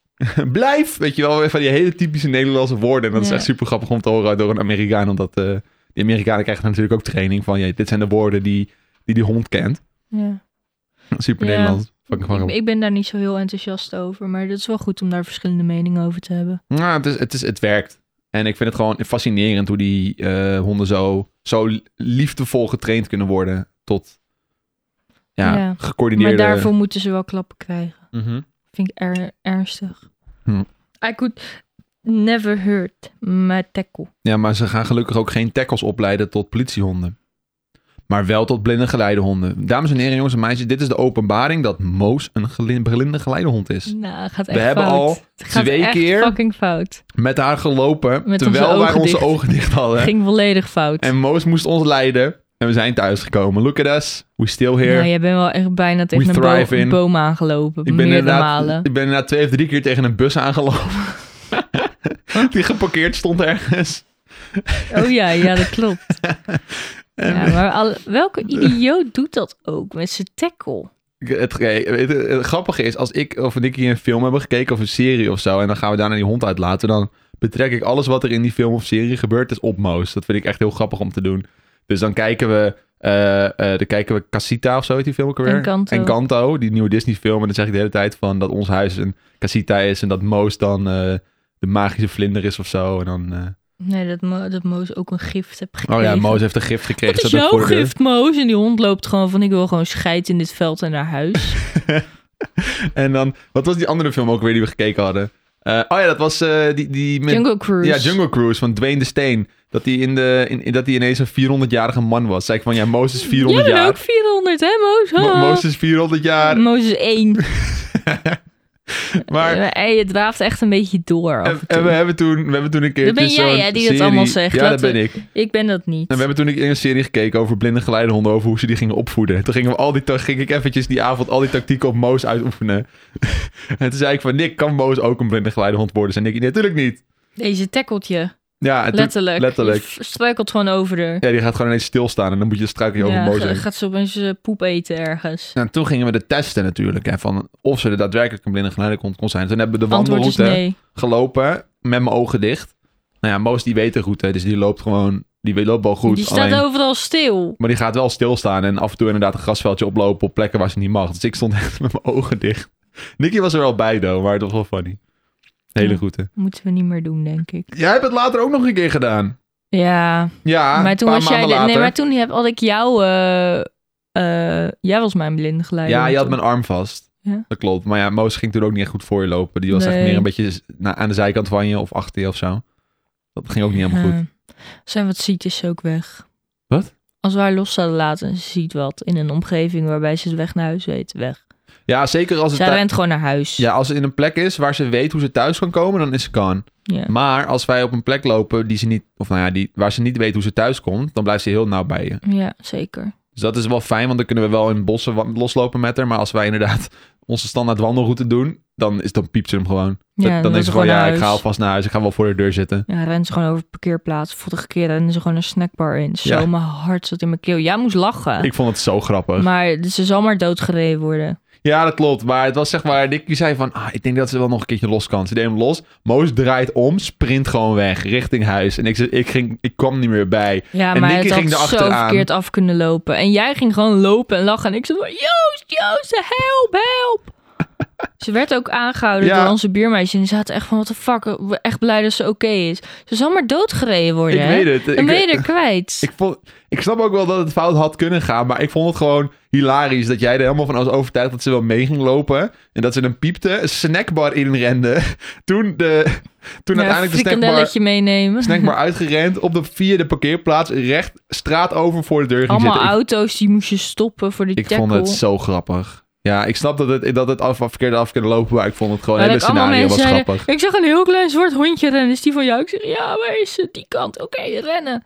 Speaker 1: blijf. Weet je wel, weer van die hele typische Nederlandse woorden. En dat is
Speaker 2: Ja.
Speaker 1: echt super grappig om te horen door een Amerikaan. Omdat eh die Amerikanen krijgen natuurlijk ook training van: jee, dit zijn de woorden die die, die hond kent.
Speaker 2: Ja.
Speaker 1: Super
Speaker 2: Ja.
Speaker 1: Nederlands. Fucking
Speaker 2: Ik,
Speaker 1: grappig.
Speaker 2: ik ben daar niet zo heel enthousiast over. Maar dat is wel goed om daar verschillende meningen over te hebben.
Speaker 1: Nou, het, is, het, is, het werkt. En ik vind het gewoon fascinerend hoe die eh, honden zo, zo liefdevol getraind kunnen worden tot ja,
Speaker 2: Ja.
Speaker 1: gecoördineerde...
Speaker 2: Maar daarvoor moeten ze wel klappen krijgen.
Speaker 1: Mhm.
Speaker 2: Vind ik er, ernstig.
Speaker 1: Hm.
Speaker 2: I could never hurt my tackle.
Speaker 1: Ja, maar ze gaan gelukkig ook geen tackles opleiden tot politiehonden. Maar wel tot blinde geleidehonden. Dames en heren, jongens en meisjes, dit is de openbaring dat Moos een gelin- blinde geleidehond is.
Speaker 2: Nou, gaat
Speaker 1: We
Speaker 2: echt
Speaker 1: hebben
Speaker 2: fout.
Speaker 1: al
Speaker 2: Het gaat
Speaker 1: twee
Speaker 2: echt
Speaker 1: keer- Oh
Speaker 2: fucking fout.
Speaker 1: Met haar gelopen,
Speaker 2: Met onze
Speaker 1: terwijl wij
Speaker 2: ogen
Speaker 1: onze
Speaker 2: dicht.
Speaker 1: ogen dicht hadden.
Speaker 2: Ging volledig fout.
Speaker 1: En Moos moest ons leiden. En we zijn thuisgekomen. Look at us. We still here.
Speaker 2: Nou, jij bent wel echt bijna tegen
Speaker 1: We
Speaker 2: een, bo-
Speaker 1: thrive in.
Speaker 2: een boom aangelopen.
Speaker 1: Ik ben,
Speaker 2: meerdere
Speaker 1: inderdaad,
Speaker 2: malen.
Speaker 1: ik ben inderdaad twee of drie keer tegen een bus aangelopen. die geparkeerd stond ergens.
Speaker 2: Oh ja, ja, dat klopt.
Speaker 1: En-
Speaker 2: Ja, maar alle- welke idioot doet dat ook met zijn tackle?
Speaker 1: Ik- Het, nee, weet je, het grappige is, als ik of Nicky een film hebben gekeken of een serie of zo... en dan gaan we daarna die hond uitlaten... dan betrek ik alles wat er in die film of serie gebeurt is op Moos. Dat vind ik echt heel grappig om te doen. Dus dan kijken we, eh, eh, dan kijken we Casita of zo heet die film ook alweer.
Speaker 2: Encanto.
Speaker 1: Encanto, die nieuwe Disney film. En dan zeg ik de hele tijd van dat ons huis een Casita is... en dat Moos dan eh, de magische vlinder is of zo. En dan... eh,
Speaker 2: Nee, dat, Mo- dat Moos ook een gift heeft gekregen.
Speaker 1: Oh ja, Moos heeft een gift gekregen.
Speaker 2: Wat is
Speaker 1: staat ook
Speaker 2: jouw
Speaker 1: voor de deur.
Speaker 2: gift, Moos? En die hond loopt gewoon van, ik wil gewoon scheid in dit veld en naar huis.
Speaker 1: En dan, wat was die andere film ook weer die we gekeken hadden? Eh, oh ja, dat was eh, die, die met...
Speaker 2: Jungle Cruise.
Speaker 1: Ja, Jungle Cruise van Dwayne de Steen. Dat hij in de, in, in- dat hij ineens een 400-jarige man was. Zei ik van, ja, Mozes 400
Speaker 2: Jij bent ook ah.
Speaker 1: jaar.
Speaker 2: 400, hè, Moos?
Speaker 1: Mo-
Speaker 2: Ha.
Speaker 1: Mozes 400 jaar.
Speaker 2: Moos is één.
Speaker 1: Maar
Speaker 2: Eh, hey, je draaft echt een beetje door af
Speaker 1: en,
Speaker 2: en
Speaker 1: en
Speaker 2: toe.
Speaker 1: we hebben toen, we hebben toen een keer
Speaker 2: Dat ben jij, hè, die dat allemaal zegt.
Speaker 1: Ja, dat
Speaker 2: Laten we-
Speaker 1: ben ik.
Speaker 2: Ik ben dat niet.
Speaker 1: En we hebben toen een- een serie gekeken over blinde geleidehonden, over hoe ze die gingen opvoeden. Toen gingen we al die, ta- ging ik eventjes die avond al die tactieken op Moos uitoefenen. en toen zei ik van, Nick, kan Moos ook een blinde geleidehond worden? Zei Nick, natuurlijk niet.
Speaker 2: Deze tackeltje.
Speaker 1: Ja, en toen-
Speaker 2: Letterlijk.
Speaker 1: letterlijk.
Speaker 2: Je struikelt gewoon over haar.
Speaker 1: ja, die gaat gewoon ineens stilstaan en dan moet je struiken over Moos
Speaker 2: ga-
Speaker 1: heen.
Speaker 2: gaat ze opeens eh, poep eten ergens.
Speaker 1: En Nou, toen gingen we de testen natuurlijk, hè, van of ze er daadwerkelijk een blinde geleidehond kon zijn. Toen hebben we de
Speaker 2: Antwoord is
Speaker 1: wandelroute
Speaker 2: nee.
Speaker 1: gelopen, met mijn ogen dicht. Nou ja, Moos die weet de route, dus die loopt gewoon, die loopt wel goed.
Speaker 2: die staat
Speaker 1: alleen-
Speaker 2: overal stil.
Speaker 1: Maar die gaat wel stilstaan en af en toe inderdaad een grasveldje oplopen op plekken waar ze niet mag. Dus ik stond echt met mijn ogen dicht. Nicky was er wel bij, though, maar het was wel funny. Hele
Speaker 2: Ja.
Speaker 1: goede.
Speaker 2: Moeten we niet meer doen, denk ik.
Speaker 1: Jij hebt het later ook nog een keer gedaan.
Speaker 2: Ja,
Speaker 1: Ja,
Speaker 2: maar toen
Speaker 1: Ah, een paar
Speaker 2: was jij...
Speaker 1: maanden
Speaker 2: de- nee,
Speaker 1: later.
Speaker 2: maar toen heb, had ik jou... eh, eh, jij was mijn blinde geleider.
Speaker 1: Ja, je had
Speaker 2: toen.
Speaker 1: mijn arm vast.
Speaker 2: Ja.
Speaker 1: Dat klopt. Maar ja, Moos ging toen ook niet echt goed voor je lopen. Die was echt
Speaker 2: Nee.
Speaker 1: meer een beetje z- nou, aan de zijkant van je of achter je of zo. Dat ging ook niet helemaal goed.
Speaker 2: Eh, zijn wat ziektes ook weg.
Speaker 1: Wat?
Speaker 2: Als we haar los zouden laten en ze ziet wat in een omgeving waarbij ze het weg naar huis weet, weg.
Speaker 1: Ja, zeker als het,
Speaker 2: Zij
Speaker 1: thui-
Speaker 2: rent gewoon naar huis.
Speaker 1: ja, als het in een plek is waar ze weet hoe ze thuis kan komen, dan is ze gone.
Speaker 2: Ja.
Speaker 1: Maar als wij op een plek lopen die ze niet, of nou ja, die, waar ze niet weet hoe ze thuis komt, dan blijft ze heel nauw bij je.
Speaker 2: Ja, zeker.
Speaker 1: Dus dat is wel fijn, want dan kunnen we wel in bossen wa- loslopen met haar. Maar als wij inderdaad onze standaard wandelroute doen, dan, is, dan piept ze hem gewoon.
Speaker 2: Ja,
Speaker 1: dan
Speaker 2: wil
Speaker 1: denk
Speaker 2: ze
Speaker 1: ze gewoon,
Speaker 2: naar
Speaker 1: ja, ik
Speaker 2: huis.
Speaker 1: ga alvast naar huis. Ik ga wel voor de deur zitten.
Speaker 2: Ja, rent ze gewoon over de parkeerplaats. Vorige keer renden ze gewoon een snackbar in. Zo,
Speaker 1: Ja.
Speaker 2: mijn hart zat in mijn keel. Jij moest lachen.
Speaker 1: Ik vond het zo grappig.
Speaker 2: Maar ze zal maar doodgereden worden.
Speaker 1: Ja, dat klopt. Maar het was zeg maar, Nicky zei van, ah, ik denk dat ze wel nog een keertje los kan. Ze deed hem los. Moos draait om, sprint gewoon weg, richting huis. En ik, ze- ik, ging, ik kwam niet meer bij.
Speaker 2: Ja,
Speaker 1: En
Speaker 2: maar
Speaker 1: Nicky
Speaker 2: het
Speaker 1: ging
Speaker 2: had zo
Speaker 1: erachteraan.
Speaker 2: verkeerd af kunnen lopen. En jij ging gewoon lopen en lachen. En ik zei van, Joost, Joost, help, help. ze werd ook aangehouden
Speaker 1: Ja.
Speaker 2: door onze buurmeisje. En ze had echt van, wat de fuck, we- echt blij dat ze oké is. Ze zal maar doodgereden worden,
Speaker 1: ik
Speaker 2: hè?
Speaker 1: weet het.
Speaker 2: Oh, Dan ben
Speaker 1: Ik-
Speaker 2: je er kwijt.
Speaker 1: Ik, vond, ik snap ook wel dat het fout had kunnen gaan, maar ik vond het gewoon hilarisch dat jij er helemaal van was overtuigd dat ze wel mee ging lopen. En dat ze een piepte, een snackbar inrende. Toen, de, toen
Speaker 2: Ja,
Speaker 1: uiteindelijk de snackbar,
Speaker 2: frikandelletje meenemen.
Speaker 1: snackbar uitgerend op de, via de parkeerplaats recht straat over voor de deur ging
Speaker 2: Allemaal
Speaker 1: zitten. Ik-
Speaker 2: auto's, die moest je stoppen voor die
Speaker 1: Ik,
Speaker 2: tackle.
Speaker 1: vond het zo grappig. Ja, ik snap dat het, dat het af, af, verkeerde af kunnen lopen, maar ik vond het gewoon
Speaker 2: Maar
Speaker 1: een hele
Speaker 2: dat allemaal
Speaker 1: scenario was
Speaker 2: mensen zeiden,
Speaker 1: grappig.
Speaker 2: Ik zag een heel klein zwart hondje rennen. Is die van jou? Ik zeg, ja, waar is ze? Die kant. Oké, rennen.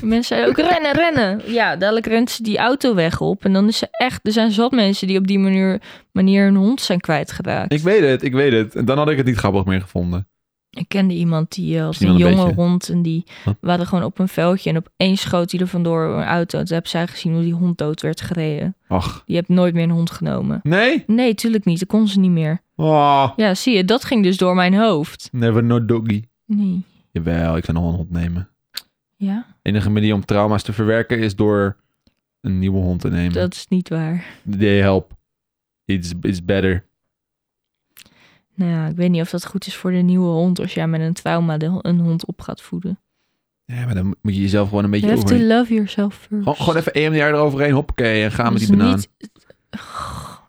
Speaker 2: De mensen zeiden ook, rennen, rennen. Ja, dadelijk rent ze die auto weg op. En dan is ze echt... Er zijn zat mensen die op die manier, manier hun hond zijn kwijtgeraakt.
Speaker 1: Ik
Speaker 2: Ik,
Speaker 1: weet het, ik weet het. En dan had ik het niet grappig meer gevonden.
Speaker 2: kende iemand die eh, als
Speaker 1: Misschien
Speaker 2: een
Speaker 1: wel een
Speaker 2: jonge
Speaker 1: beetje.
Speaker 2: hond... En die
Speaker 1: Huh?
Speaker 2: waren gewoon op een veldje. En opeens schoot hij er vandoor een auto. En toen heb zij gezien hoe die hond dood werd gereden.
Speaker 1: Ach.
Speaker 2: Die heeft nooit meer een hond genomen.
Speaker 1: Nee?
Speaker 2: Nee, tuurlijk niet. Dat kon ze niet meer.
Speaker 1: Oh,
Speaker 2: Ja, zie je, dat ging dus door mijn hoofd.
Speaker 1: never no doggy.
Speaker 2: Nee.
Speaker 1: Jawel, ik ga nog wel een hond nemen.
Speaker 2: Ja,
Speaker 1: enige manier om trauma's te verwerken is door een nieuwe hond te nemen.
Speaker 2: dat is niet waar.
Speaker 1: They help. It's, it's better.
Speaker 2: Nou ja, ik weet niet of dat goed is voor de nieuwe hond als jij met een trauma de, een hond op gaat voeden.
Speaker 1: Ja, maar dan moet je jezelf gewoon een
Speaker 2: You
Speaker 1: beetje
Speaker 2: have to
Speaker 1: over.
Speaker 2: love yourself first.
Speaker 1: Gewoon, gewoon even EMDR eroverheen, hoppakee, en gaan met
Speaker 2: Dus
Speaker 1: die banaan.
Speaker 2: niet-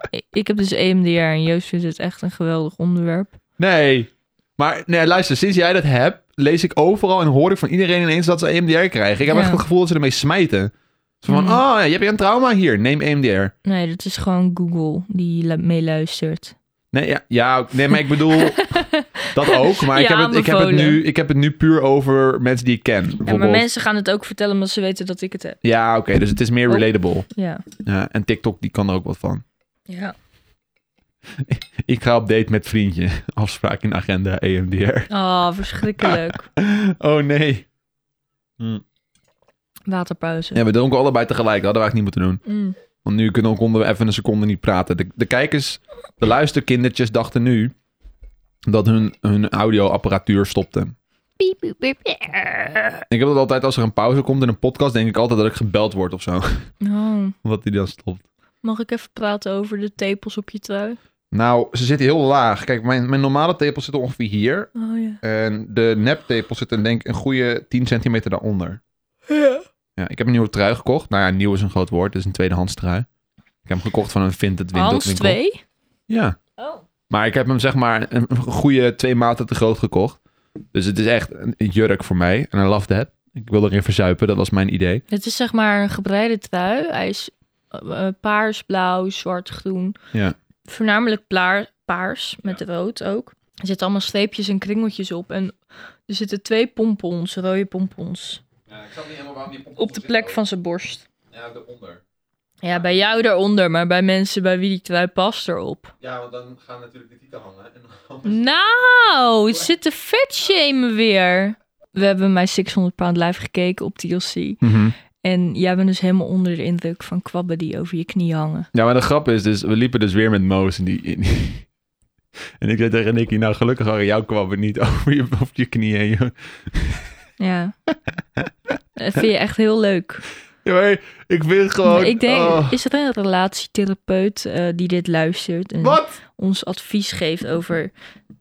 Speaker 2: Ik- Ik heb dus EMDR en Joost vindt het echt een geweldig onderwerp.
Speaker 1: Nee. Maar nee, luister, sinds jij dat hebt, lees ik overal en hoor ik van iedereen ineens dat ze E EMDR krijgen. Ik heb
Speaker 2: Ja.
Speaker 1: echt het gevoel dat ze ermee smijten. Zo van,
Speaker 2: Mm.
Speaker 1: oh, ja, je hebt hier een trauma hier, neem E EMDR.
Speaker 2: Nee, dat is gewoon Google die lu- meeluistert.
Speaker 1: Nee, ja, ja, nee, maar ik bedoel dat ook. Maar ik,
Speaker 2: Ja,
Speaker 1: heb het, ik, heb het
Speaker 2: aanbevolen.
Speaker 1: nu, ik heb het nu puur over mensen die ik ken.
Speaker 2: Ja, maar
Speaker 1: bijvoorbeeld.
Speaker 2: mensen gaan het ook vertellen omdat ze weten dat ik het heb.
Speaker 1: Ja, oké, dus het is meer
Speaker 2: Oh.
Speaker 1: relatable.
Speaker 2: Ja.
Speaker 1: Ja, en TikTok, die kan er ook wat van.
Speaker 2: ja.
Speaker 1: Ik ga op date met vriendje. Afspraak in agenda, E EMDR.
Speaker 2: Oh, verschrikkelijk.
Speaker 1: Oh nee.
Speaker 2: Waterpauze.
Speaker 1: Ja, we dronken allebei tegelijk. Dat hadden we eigenlijk niet moeten doen.
Speaker 2: Mm.
Speaker 1: Want nu kunnen we onder- even een seconde niet praten. De, de kijkers, de luisterkindertjes dachten nu dat hun, hun audioapparatuur stopte.
Speaker 2: Piep, piep, piep.
Speaker 1: Ik heb dat altijd als er een pauze komt in een podcast, denk ik altijd dat ik gebeld word of zo.
Speaker 2: Oh,
Speaker 1: Omdat die dan stopt.
Speaker 2: mag ik even praten over de tepels op je trui?
Speaker 1: Nou, ze zitten heel laag. Kijk, mijn, mijn normale tepels zitten ongeveer hier.
Speaker 2: Oh ja.
Speaker 1: En de neptepels zitten denk ik een goede 10 centimeter daaronder.
Speaker 2: Ja.
Speaker 1: Ja, ik heb een nieuwe trui gekocht. Nou ja, nieuw is een groot woord. Het is een tweedehands trui. Ik heb hem gekocht van een Vinted winkel.
Speaker 2: Hans
Speaker 1: winkel.
Speaker 2: 2?
Speaker 1: Ja.
Speaker 2: Oh.
Speaker 1: Maar ik heb hem zeg maar een goede twee maten te groot gekocht. Dus het is echt een een jurk voor mij. En I love that. Ik wil erin verzuipen. Dat was mijn idee.
Speaker 2: Het is zeg maar een gebreide trui. Hij is eh, eh, paars, blauw, zwart, groen.
Speaker 1: Ja.
Speaker 2: Voornamelijk plaar- paars, met rood ook. Er zitten allemaal streepjes en kringeltjes op. En er zitten twee pompons, rode pompons.
Speaker 1: Ja, ik snap niet helemaal waarom die
Speaker 2: Op de plek van zijn borst.
Speaker 1: Ja, daaronder.
Speaker 2: Ja, bij jou daaronder, maar bij mensen bij wie die trui past erop.
Speaker 1: Ja, want dan gaan natuurlijk de tieten hangen.
Speaker 2: Nou, het zit te vet shamen weer. We hebben mijn 600 pound live gekeken op TLC.
Speaker 1: Mhm.
Speaker 2: En jij bent dus helemaal onder de indruk van kwabben die over je knie hangen.
Speaker 1: Ja, maar de grap is dus, we liepen dus weer met Moos in die... in die- En ik zei tegen Nicky, nou gelukkig waren jouw kwabben niet over je, over je knieën. joh.
Speaker 2: Ja. Dat vind je echt heel leuk.
Speaker 1: Ja, maar ik vind gewoon...
Speaker 2: Maar ik denk,
Speaker 1: oh,
Speaker 2: is er een relatietherapeut eh, die dit luistert en
Speaker 1: wat?
Speaker 2: ons advies geeft over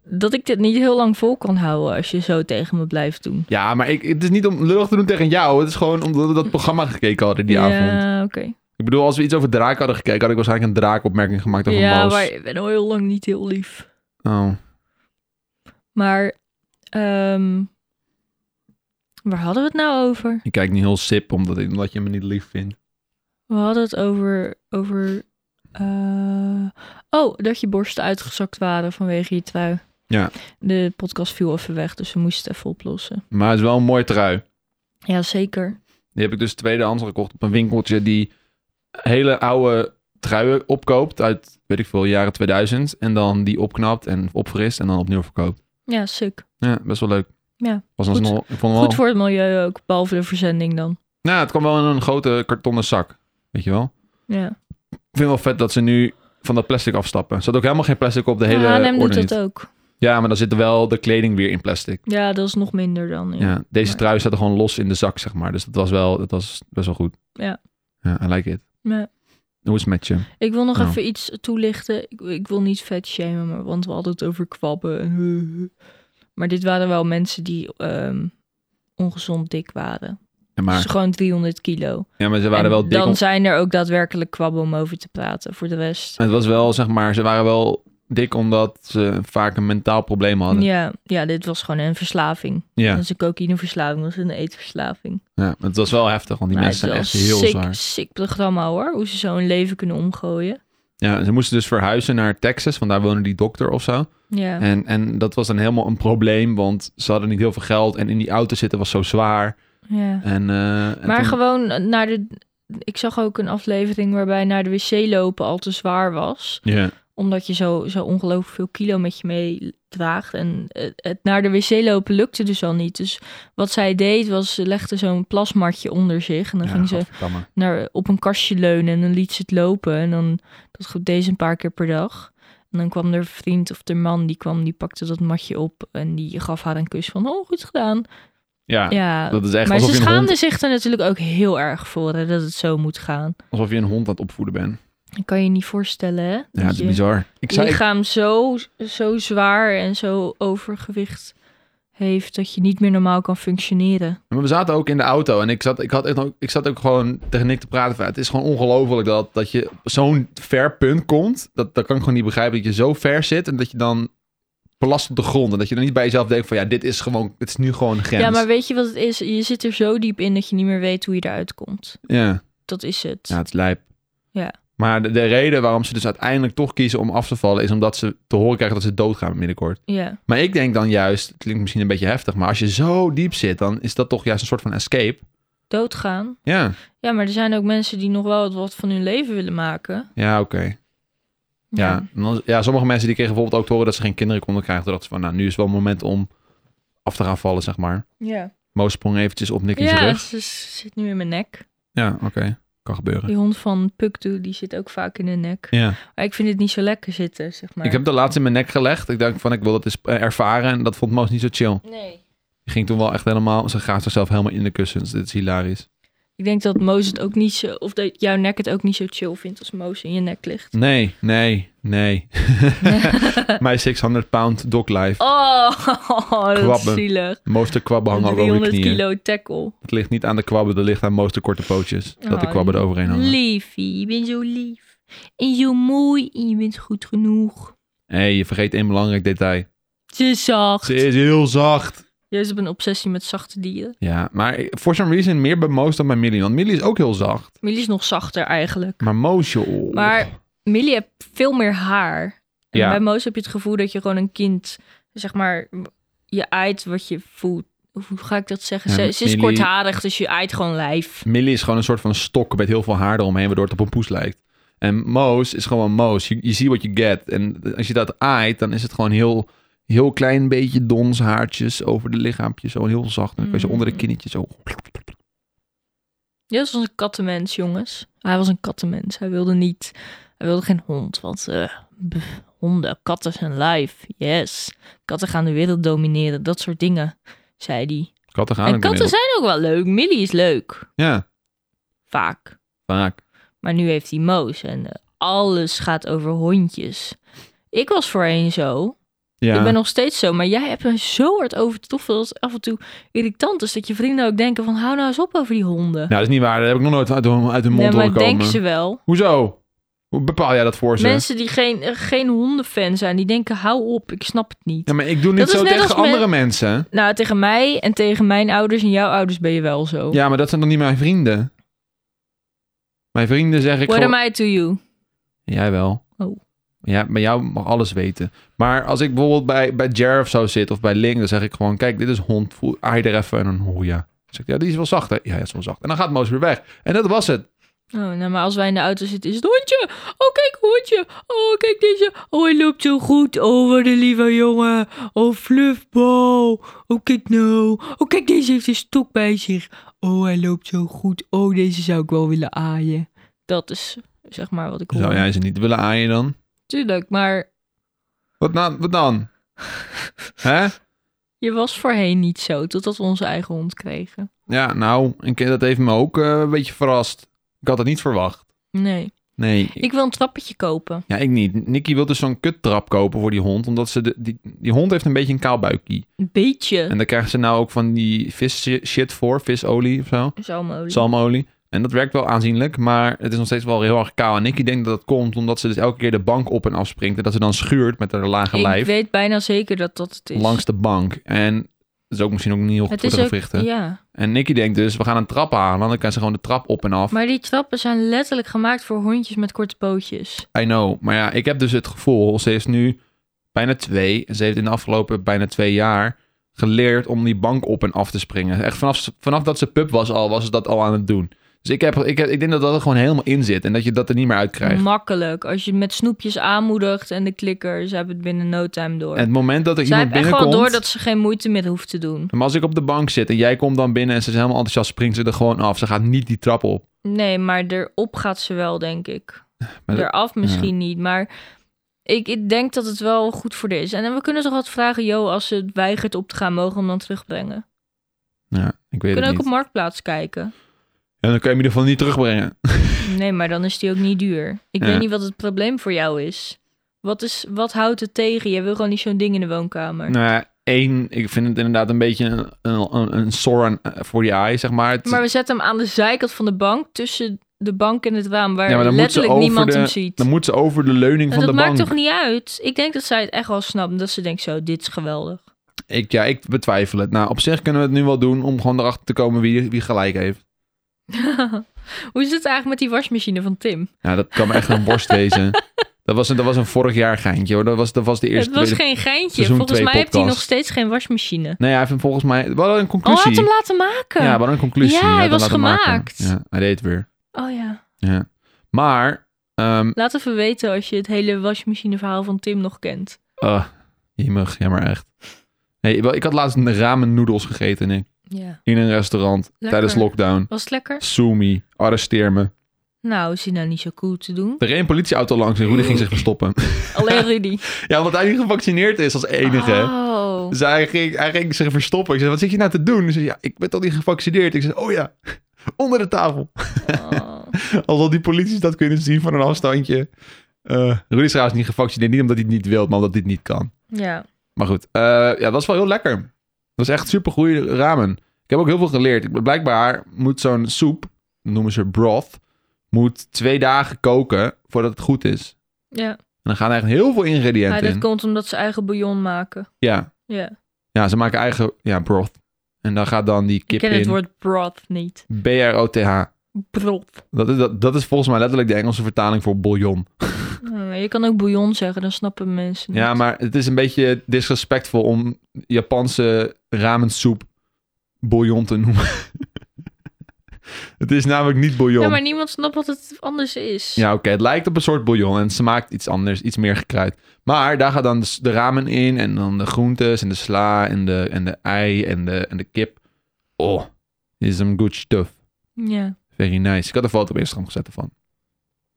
Speaker 2: dat ik dit niet heel lang vol kan houden als je zo tegen me blijft doen?
Speaker 1: Ja, maar ik, het is niet om lullig te doen tegen jou. Het is gewoon omdat we dat programma gekeken hadden die avond.
Speaker 2: ja, oké.
Speaker 1: Ik bedoel, als we iets over draak hadden gekeken, had ik waarschijnlijk een draakopmerking gemaakt over
Speaker 2: Ja,
Speaker 1: Moos.
Speaker 2: maar ik ben al heel lang niet heel lief.
Speaker 1: Oh.
Speaker 2: Maar, ehm, waar hadden we het nou over?
Speaker 1: Ik kijk niet heel sip, omdat, ik, omdat je me niet lief vindt.
Speaker 2: We hadden het over, over eh, oh, dat je borsten uitgezakt waren vanwege je trui.
Speaker 1: Ja.
Speaker 2: De podcast viel even weg, dus we moesten het even oplossen.
Speaker 1: Maar het is wel een mooi trui.
Speaker 2: Ja, zeker.
Speaker 1: Die heb ik dus tweedehands gekocht op een winkeltje die hele oude truien opkoopt uit, weet ik veel, jaren 2000. En dan die opknapt en opfrist en dan opnieuw verkoopt.
Speaker 2: Ja, suk.
Speaker 1: Ja, best wel leuk.
Speaker 2: Ja,
Speaker 1: Was
Speaker 2: goed.
Speaker 1: alsnog- ik vond hem wel...
Speaker 2: Goed voor het milieu ook, behalve de verzending dan.
Speaker 1: Nou, het kwam wel in een grote kartonnen zak. Weet je wel?
Speaker 2: Ja.
Speaker 1: Ik vind het wel vet dat ze nu van dat plastic afstappen. Er zat ook helemaal geen plastic op de hele
Speaker 2: Haarlem H&M doet
Speaker 1: ornament.
Speaker 2: dat ook.
Speaker 1: Ja, maar dan zit er wel de kleding weer in plastic.
Speaker 2: Ja, dat is nog minder dan.
Speaker 1: Ja,
Speaker 2: Ja.
Speaker 1: deze
Speaker 2: Maar-
Speaker 1: trui staat er gewoon los in de zak, zeg maar. Dus dat was wel, dat was best wel goed.
Speaker 2: Ja.
Speaker 1: Ja, I like it.
Speaker 2: Ja.
Speaker 1: Hoe is het met je?
Speaker 2: Ik wil nog
Speaker 1: Nou.
Speaker 2: even iets toelichten. Ik, ik wil niet vet shamen, maar, want we hadden het over kwabben. en Maar dit waren wel mensen die ehm, ongezond dik
Speaker 1: Ja,
Speaker 2: waren. Dus
Speaker 1: maar,
Speaker 2: gewoon 300 kilo.
Speaker 1: ja, maar ze waren
Speaker 2: En
Speaker 1: wel dik.
Speaker 2: dan
Speaker 1: om-
Speaker 2: zijn er ook daadwerkelijk kwabben om over te praten. Voor de rest.
Speaker 1: Het was wel, zeg maar, ze waren wel dik omdat ze vaak een mentaal probleem hadden. Ja.
Speaker 2: Ja, ja, dit was gewoon een verslaving.
Speaker 1: Ja,
Speaker 2: Dat is een cocaïneverslaving, dat is een eetverslaving.
Speaker 1: maar het was wel heftig, want die
Speaker 2: Maar
Speaker 1: mensen zijn
Speaker 2: het
Speaker 1: echt
Speaker 2: is wel
Speaker 1: heel
Speaker 2: sick,
Speaker 1: zwaar.
Speaker 2: sick programma hoor, hoe ze zo hun leven kunnen omgooien.
Speaker 1: Ja, ze moesten dus verhuizen naar Texas, want daar woonde die dokter of zo.
Speaker 2: Ja.
Speaker 1: En, en dat was dan helemaal een probleem, want ze hadden niet heel veel geld. En in die auto zitten was zo zwaar.
Speaker 2: ja.
Speaker 1: En, eh, en
Speaker 2: Maar
Speaker 1: toen-
Speaker 2: gewoon naar de... Ik zag ook een aflevering waarbij naar de wc lopen al te zwaar was.
Speaker 1: Ja,
Speaker 2: Omdat je zo, zo ongelooflijk veel kilo met je mee draagt. En eh, het naar de wc lopen lukte dus al niet. Dus wat zij deed was, ze legde zo'n plasmatje onder zich. En dan
Speaker 1: Ja,
Speaker 2: ging ze
Speaker 1: gadverdamme.
Speaker 2: naar, op een kastje leunen en dan liet ze het lopen. En dan, dat goed, deed ze een paar keer per dag. En dan kwam haar vriend of de man, die kwam, die pakte dat matje op. En die gaf haar een kus van, oh, goed gedaan.
Speaker 1: Ja,
Speaker 2: Ja,
Speaker 1: dat is echt
Speaker 2: maar
Speaker 1: alsof
Speaker 2: ze dus-
Speaker 1: je, een
Speaker 2: schaamde
Speaker 1: hond,
Speaker 2: zich er natuurlijk ook heel erg voor, hè, dat het zo moet gaan.
Speaker 1: alsof je een hond aan het opvoeden bent.
Speaker 2: Dat kan je niet voorstellen, hè?
Speaker 1: Ja,
Speaker 2: dat
Speaker 1: het is
Speaker 2: je-
Speaker 1: bizar. Ik
Speaker 2: je
Speaker 1: zei,
Speaker 2: lichaam zo, zo zwaar en zo overgewicht heeft dat je niet meer normaal kan functioneren.
Speaker 1: Maar we zaten ook in de auto en ik zat, ik had echt ook, ik zat ook gewoon tegen Nick te praten. Van, het is gewoon ongelooflijk dat, dat je op zo'n ver punt komt. Dat, dat kan ik gewoon niet begrijpen. Dat je zo ver zit en dat je dan belast op de grond. En dat je dan niet bij jezelf denkt van ja, dit is gewoon, dit is nu gewoon een grens.
Speaker 2: Ja, maar weet je wat het is? Je zit er zo diep in dat je niet meer weet hoe je eruit komt.
Speaker 1: ja.
Speaker 2: Dat is het.
Speaker 1: Ja, het is lijp.
Speaker 2: Ja.
Speaker 1: Maar de, de reden waarom ze dus uiteindelijk toch kiezen om af te vallen... is omdat ze te horen krijgen dat ze doodgaan binnenkort.
Speaker 2: Ja.
Speaker 1: Maar ik denk dan juist, het klinkt misschien een beetje heftig... maar als je zo diep zit, dan is dat toch juist een soort van escape.
Speaker 2: Doodgaan.
Speaker 1: Ja,
Speaker 2: Ja, maar er zijn ook mensen die nog wel wat van hun leven willen maken.
Speaker 1: ja oké. Ja. en dan- ja, sommige mensen die kregen bijvoorbeeld ook te horen dat ze geen kinderen konden krijgen. Toen dachten ze van, nou, nu is wel het moment om af te gaan vallen, zeg maar.
Speaker 2: Ja,
Speaker 1: Mo sprong eventjes op Nicky's
Speaker 2: ja
Speaker 1: rug.
Speaker 2: ze s- zit nu in mijn nek.
Speaker 1: Ja, oké. Kan gebeuren.
Speaker 2: Die hond van Puktu, die zit ook vaak in de nek.
Speaker 1: Ja.
Speaker 2: Maar ik vind het niet zo lekker zitten, zeg maar.
Speaker 1: Ik heb de laatst in mijn nek gelegd. Ik dacht van, ik wil dat eens eh, ervaren. En dat vond Moos niet zo chill.
Speaker 2: Nee.
Speaker 1: Die ging toen wel echt helemaal... Ze gaat zichzelf helemaal in de kussens. Dit is hilarisch.
Speaker 2: Ik denk dat Moos het ook niet zo... Of dat jouw nek het ook niet zo chill vindt als Moos in je nek ligt.
Speaker 1: Nee, nee, nee. Mijn 600 pound dog life.
Speaker 2: Oh, dat is
Speaker 1: Kwabben.
Speaker 2: zielig.
Speaker 1: Moos de kwabben hangen ook over je
Speaker 2: 300
Speaker 1: knieën.
Speaker 2: kilo tackle.
Speaker 1: Het ligt niet aan de kwabben, het ligt aan Moos de korte pootjes. Dat de
Speaker 2: Oh,
Speaker 1: kwabben er overheen hangen.
Speaker 2: Liefie, je bent zo lief. En zo mooi en je bent goed genoeg.
Speaker 1: Hé, hey, je vergeet één belangrijk detail.
Speaker 2: Ze is zacht.
Speaker 1: Ze is heel zacht.
Speaker 2: Je hebt een obsessie met zachte dieren.
Speaker 1: Ja, maar for some reason meer bij Moos dan bij Millie. Want Millie is ook heel zacht.
Speaker 2: Millie is nog zachter eigenlijk.
Speaker 1: Maar Moos, joh.
Speaker 2: Maar- Millie heeft veel meer haar. En
Speaker 1: Ja.
Speaker 2: bij Moos heb je het gevoel dat je gewoon een kind... Zeg maar, je aait wat je voelt. Of Hoe ga ik dat zeggen?
Speaker 1: Ja,
Speaker 2: ze, ze is
Speaker 1: Millie-
Speaker 2: kortharig, dus je aait gewoon lijf.
Speaker 1: Millie is gewoon een soort van stok met heel veel haar eromheen, waardoor het op een poes lijkt. En Moos is gewoon Moos. Je je ziet wat je get. En als je dat aait, dan is het gewoon heel, heel klein beetje dons haartjes over de lichaampje. Zo heel zacht. En dan kan je
Speaker 2: Mm.
Speaker 1: onder de kinnetje zo...
Speaker 2: Joost was een kattenmens, jongens. Hij was een kattenmens. Hij wilde niet. Hij wilde geen hond. Want eh, bf, honden, katten zijn live. Yes. Katten gaan de wereld domineren. Dat soort dingen, zei hij.
Speaker 1: Katten gaan
Speaker 2: en
Speaker 1: ook
Speaker 2: katten
Speaker 1: inmiddels.
Speaker 2: zijn ook wel leuk. Millie is leuk.
Speaker 1: Ja,
Speaker 2: Vaak.
Speaker 1: vaak.
Speaker 2: Maar nu heeft hij Moos. En eh, alles gaat over hondjes. Ik was voorheen zo.
Speaker 1: Ja.
Speaker 2: Ik ben nog steeds zo. Maar jij hebt me zo hard overtroffen dat het af en toe irritant is. Dat je vrienden ook denken van hou nou eens op over die honden.
Speaker 1: Nou, dat is niet waar. Dat heb ik nog nooit uit hun, uit hun mond
Speaker 2: nee, maar
Speaker 1: horen komen.
Speaker 2: denken ze wel.
Speaker 1: Hoezo? Hoe bepaal jij dat voor ze?
Speaker 2: Mensen die geen, eh, geen hondenfan zijn, die denken: hou op, ik snap het niet.
Speaker 1: Ja, maar ik doe niet
Speaker 2: Dat is
Speaker 1: zo
Speaker 2: net
Speaker 1: tegen
Speaker 2: als men-
Speaker 1: andere mensen.
Speaker 2: Nou, tegen mij en tegen mijn ouders en jouw ouders ben je wel zo.
Speaker 1: Ja, maar dat zijn dan niet mijn vrienden. Mijn vrienden zeg ik
Speaker 2: What
Speaker 1: gewoon...
Speaker 2: am I to you?
Speaker 1: Jij wel.
Speaker 2: Oh.
Speaker 1: Ja, bij jou mag alles weten. Maar als ik bijvoorbeeld bij, bij Jer of zo zit of bij Ling, dan zeg ik gewoon... Kijk, dit is hond. Voel, aai er even en dan hoor ja. Dan zeg ik, ja, die is wel zacht, hè? Ja, ja, is wel zacht. En dan gaat Moos weer weg. En dat was het.
Speaker 2: Oh, nou, maar als wij in de auto zitten, is het hondje. Oh, kijk, hondje. Oh, kijk deze. Oh, hij loopt zo goed. Oh, wat een lieve jongen. Oh, fluffbal. Oh, kijk nou. Oh, kijk, deze heeft een stok bij zich. Oh, hij loopt zo goed. Oh, deze zou ik wel willen aaien. Dat is zeg maar wat ik hoor.
Speaker 1: Zou jij ze niet willen aaien dan?
Speaker 2: Tuurlijk, maar
Speaker 1: Wat, nou, wat dan? Hè?
Speaker 2: je was voorheen niet zo, totdat we onze eigen hond kregen.
Speaker 1: Ja, nou, ik, dat heeft me ook eh, een beetje verrast. Ik had het niet verwacht.
Speaker 2: Nee.
Speaker 1: Nee, ik-
Speaker 2: Ik wil een trappetje kopen.
Speaker 1: Ja, ik niet. Nicky wil dus zo'n kuttrap kopen voor die hond. Omdat ze de, die, die hond heeft een beetje een kaalbuikie.
Speaker 2: Een beetje.
Speaker 1: En daar krijgen ze nou ook van die vis shit voor. Visolie of zo.
Speaker 2: Zalmolie.
Speaker 1: Zalmolie. En dat werkt wel aanzienlijk. Maar het is nog steeds wel heel erg kaal. En Nicky denkt dat dat komt omdat ze dus elke keer de bank op en af springt. En dat ze dan schuurt met haar lage
Speaker 2: ik
Speaker 1: lijf
Speaker 2: weet bijna zeker dat dat het is.
Speaker 1: langs de bank. En Dat is ook misschien ook niet heel goed
Speaker 2: Het
Speaker 1: voor de
Speaker 2: is ook,
Speaker 1: gewrichten.
Speaker 2: ja.
Speaker 1: En Nicky denkt dus, we gaan een trap halen. Dan kan ze gewoon de trap op en af.
Speaker 2: Maar die trappen zijn letterlijk gemaakt voor hondjes met korte pootjes.
Speaker 1: I know. Maar ja, ik heb dus het gevoel, ze is nu bijna twee. en Ze heeft in de afgelopen bijna twee jaar geleerd om die bank op en af te springen. Echt vanaf, vanaf dat ze pup was al, was ze dat al aan het doen. Dus ik, heb, ik, heb, ik denk dat dat er gewoon helemaal in zit. En dat je dat er niet meer uitkrijgt.
Speaker 2: Makkelijk. Als je met snoepjes aanmoedigt en de klikkers hebben het binnen no time door.
Speaker 1: En het moment dat er
Speaker 2: Zij
Speaker 1: iemand
Speaker 2: hebben echt wel
Speaker 1: binnenkomt...
Speaker 2: door dat ze geen moeite meer hoeft te doen.
Speaker 1: Maar als ik op de bank zit en jij komt dan binnen en ze is helemaal enthousiast, springt ze er gewoon af. Ze gaat niet die trap op.
Speaker 2: Nee, maar erop gaat ze wel, denk ik.
Speaker 1: Maar dat-
Speaker 2: Eraf misschien niet, maar ik, ik denk dat het wel goed voor de is. En dan- we kunnen toch wat vragen, joh, als ze het weigert op te gaan, mogen we hem dan terugbrengen.
Speaker 1: Ja, ik
Speaker 2: We
Speaker 1: weet het
Speaker 2: kunnen
Speaker 1: niet.
Speaker 2: ook op Marktplaats kijken.
Speaker 1: En dan kan je hem in ieder geval niet terugbrengen.
Speaker 2: Nee, maar dan is die ook niet duur. Ik
Speaker 1: Ja.
Speaker 2: weet niet wat het probleem voor jou is. Wat, is, wat houdt het tegen? Jij wil gewoon niet zo'n ding in de woonkamer.
Speaker 1: Nou ja, één, ik vind het inderdaad een beetje een, een, een, een sore aan- voor die eye, zeg maar. Het-
Speaker 2: Maar we zetten hem aan de zijkant van de bank, tussen de bank en het raam, waar
Speaker 1: Ja, maar dan moet ze
Speaker 2: letterlijk
Speaker 1: over
Speaker 2: niemand
Speaker 1: de-
Speaker 2: hem ziet.
Speaker 1: Dan moet ze over de leuning
Speaker 2: En
Speaker 1: van
Speaker 2: dat
Speaker 1: de
Speaker 2: maakt
Speaker 1: bank.
Speaker 2: toch niet uit? Ik denk dat zij het echt wel snapt. Dat ze denkt zo, dit is geweldig.
Speaker 1: Ik, ja, ik betwijfel het. Nou, op zich kunnen we het nu wel doen om gewoon erachter te komen wie, wie gelijk heeft.
Speaker 2: Hoe is het eigenlijk met die wasmachine van Tim?
Speaker 1: Ja, dat kan me echt een worst wezen. Dat was, een, dat was een vorig jaar geintje hoor. Dat was, dat was de eerste.
Speaker 2: het was
Speaker 1: tweede-
Speaker 2: geen geintje.
Speaker 1: seizoen
Speaker 2: Volgens
Speaker 1: twee
Speaker 2: mij heeft hij nog
Speaker 1: podcast.
Speaker 2: steeds geen wasmachine.
Speaker 1: Nee, hij vindt volgens mij. Wat een
Speaker 2: Oh, hij
Speaker 1: conclusie.
Speaker 2: had hem laten maken.
Speaker 1: ja, wat een conclusie.
Speaker 2: Ja,
Speaker 1: Hij had
Speaker 2: hij
Speaker 1: hem
Speaker 2: was
Speaker 1: laten maken.
Speaker 2: gemaakt.
Speaker 1: Ja, hij deed het weer.
Speaker 2: Oh ja.
Speaker 1: Ja. Maar, ehm
Speaker 2: Laat even weten als je het hele wasmachine verhaal van Tim nog kent.
Speaker 1: eh, jemig, ja maar echt. Nee, wel, ik had laatst een ramen noedels gegeten Nick.
Speaker 2: Ja.
Speaker 1: in een restaurant tijdens lockdown.
Speaker 2: Was het lekker?
Speaker 1: Sumi, arresteer me.
Speaker 2: Nou, is hij nou niet zo cool te doen?
Speaker 1: Er reed een politieauto langs en Rudy ging zich verstoppen.
Speaker 2: Alleen Rudy.
Speaker 1: Ja, omdat hij niet gevaccineerd is als enige.
Speaker 2: Oh.
Speaker 1: Dus hij ging, hij ging zich verstoppen. Ik zei, wat zit je nou te doen? Hij zei, ja, ik ben toch niet gevaccineerd? Ik zei, oh ja, onder de tafel.
Speaker 2: Oh.
Speaker 1: Alsof die politie dat kunnen zien van een afstandje. Eh Rudy is trouwens niet gevaccineerd. Niet omdat hij het niet wil, maar omdat dit niet kan.
Speaker 2: Ja.
Speaker 1: Maar goed, eh, ja, dat was wel heel lekker. Dat was echt super goede ramen. Ik heb ook heel veel geleerd. Ik- Blijkbaar moet zo'n soep, noemen ze broth, moet twee dagen koken voordat het goed is.
Speaker 2: Ja.
Speaker 1: En dan gaan er echt heel veel ingrediënten
Speaker 2: Maar Ah, dat
Speaker 1: in.
Speaker 2: komt omdat ze eigen bouillon maken.
Speaker 1: Ja.
Speaker 2: Ja.
Speaker 1: ja, ze maken eigen ja, broth. En daar gaat dan die
Speaker 2: Ik
Speaker 1: kip
Speaker 2: ken het
Speaker 1: in.
Speaker 2: woord broth niet.
Speaker 1: B-R-O-T-H.
Speaker 2: Broth.
Speaker 1: Dat is, dat, dat is volgens mij letterlijk de Engelse vertaling voor bouillon.
Speaker 2: Oh, je kan ook bouillon zeggen, dan snappen mensen het.
Speaker 1: Ja, maar het is een beetje disrespectvol om Japanse ramensoep bouillon te noemen. het is namelijk niet bouillon.
Speaker 2: Ja,
Speaker 1: Ja,
Speaker 2: maar niemand snapt wat het anders is.
Speaker 1: oké, het lijkt op een soort bouillon en het smaakt iets anders, iets meer gekruid. Maar daar gaat dan de, s- de ramen in en dan de groentes en de sla en de, en de ei en de, en de kip. Oh, dit is een good stuff.
Speaker 2: Ja,
Speaker 1: Very nice. Ik had een foto op Instagram gezet ervan.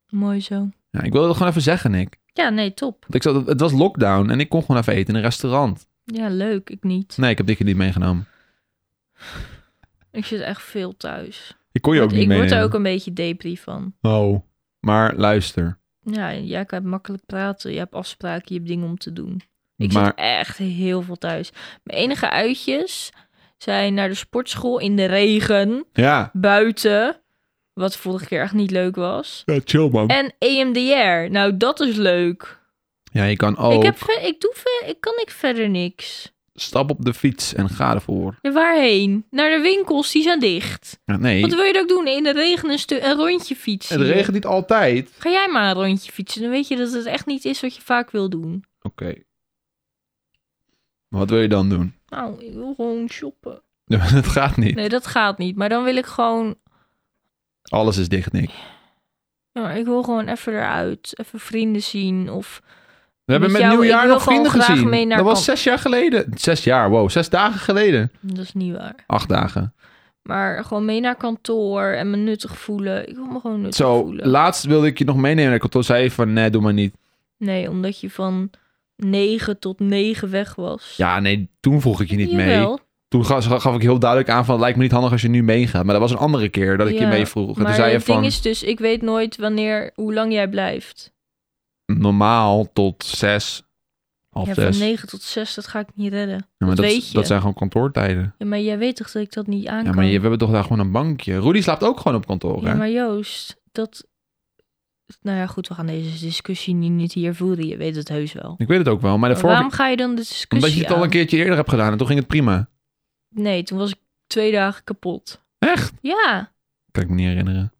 Speaker 2: mooi zo.
Speaker 1: Ja, ik wilde het gewoon even zeggen, Nick.
Speaker 2: Ja, nee, top.
Speaker 1: Want ik zat, het was lockdown en ik kon gewoon even eten in een restaurant.
Speaker 2: Ja, leuk. Ik niet.
Speaker 1: Nee, ik heb dit keer niet meegenomen.
Speaker 2: Ik zit echt veel thuis.
Speaker 1: Ik kon Hm. je ook
Speaker 2: Want
Speaker 1: niet
Speaker 2: ik word er
Speaker 1: meenemen.
Speaker 2: ook een beetje depri van.
Speaker 1: Oh. Maar luister.
Speaker 2: Ja, en jij kan makkelijk praten. Je hebt afspraken, je hebt dingen om te doen. Ik zit
Speaker 1: maar
Speaker 2: echt heel veel thuis. Mijn enige uitjes zijn naar de sportschool in de regen,
Speaker 1: ja.
Speaker 2: buiten. Wat vorige keer echt niet leuk was.
Speaker 1: ja, chill man.
Speaker 2: En EMDR. Nou, dat is leuk.
Speaker 1: Ja, je kan ook
Speaker 2: Ik, heb, ver- ik, doe ver- ik kan ik verder niks.
Speaker 1: stap op de fiets en ga ervoor.
Speaker 2: Ja, Waarheen? Naar de winkels, die zijn dicht.
Speaker 1: Ja, Nee,
Speaker 2: Wat wil je dan ook doen? In de regen een, stu- een rondje fietsen.
Speaker 1: het regent niet altijd.
Speaker 2: Ga jij maar een rondje fietsen. Dan weet je dat het echt niet is wat je vaak wil doen.
Speaker 1: Oké. Maar Wat wil je dan doen?
Speaker 2: Nou, ik wil gewoon shoppen.
Speaker 1: Het gaat niet.
Speaker 2: Nee, dat gaat niet. Maar dan wil ik gewoon...
Speaker 1: Alles is dicht, Nick.
Speaker 2: ja, maar ik wil gewoon even eruit. Even vrienden zien. Of...
Speaker 1: We hebben met
Speaker 2: jou-
Speaker 1: nieuwjaar
Speaker 2: ik wil
Speaker 1: nog vrienden
Speaker 2: gewoon graag
Speaker 1: gezien.
Speaker 2: mee naar
Speaker 1: Dat was
Speaker 2: kamp.
Speaker 1: zes jaar geleden. Zes jaar, wow. Zes dagen geleden.
Speaker 2: Dat is niet waar.
Speaker 1: Acht dagen.
Speaker 2: Maar gewoon mee naar kantoor en me nuttig voelen. Ik wil me gewoon nuttig
Speaker 1: Zo,
Speaker 2: voelen.
Speaker 1: laatst wilde ik je nog meenemen naar het kantoor. Zei je van, nee, doe maar niet.
Speaker 2: Nee, omdat je van 9 tot 9 weg was.
Speaker 1: Ja, nee, toen vroeg ik je niet mee.
Speaker 2: Jawel.
Speaker 1: Toen gaf, gaf ik heel duidelijk aan van het lijkt me niet handig als je nu meegaat. Maar dat was een andere keer dat ik je
Speaker 2: Ja,
Speaker 1: mee vroeg. En
Speaker 2: Maar
Speaker 1: toen zei je
Speaker 2: het ding
Speaker 1: van
Speaker 2: is dus, ik weet nooit wanneer, hoe lang jij blijft.
Speaker 1: normaal tot zes, half
Speaker 2: Ja, van
Speaker 1: zes.
Speaker 2: 9 tot 6, dat ga ik niet redden.
Speaker 1: Ja, maar
Speaker 2: dat
Speaker 1: dat,
Speaker 2: weet je.
Speaker 1: dat zijn gewoon kantoortijden.
Speaker 2: Ja, maar jij weet toch dat ik dat niet aan
Speaker 1: Ja,
Speaker 2: kan?
Speaker 1: maar je, we hebben toch daar gewoon een bankje. Rudy slaapt ook gewoon op kantoor.
Speaker 2: Ja,
Speaker 1: hè?
Speaker 2: maar Joost, dat... Nou ja, goed, we gaan deze discussie nu niet hier voeren. Je weet het heus wel.
Speaker 1: Ik weet het ook wel. Maar de
Speaker 2: Maar
Speaker 1: vorige,
Speaker 2: waarom ga je dan de discussie
Speaker 1: omdat je het al
Speaker 2: aan?
Speaker 1: een keertje eerder hebt gedaan en toen ging het prima.
Speaker 2: Nee, toen was ik twee dagen kapot.
Speaker 1: Echt?
Speaker 2: Ja.
Speaker 1: Kan ik me niet herinneren.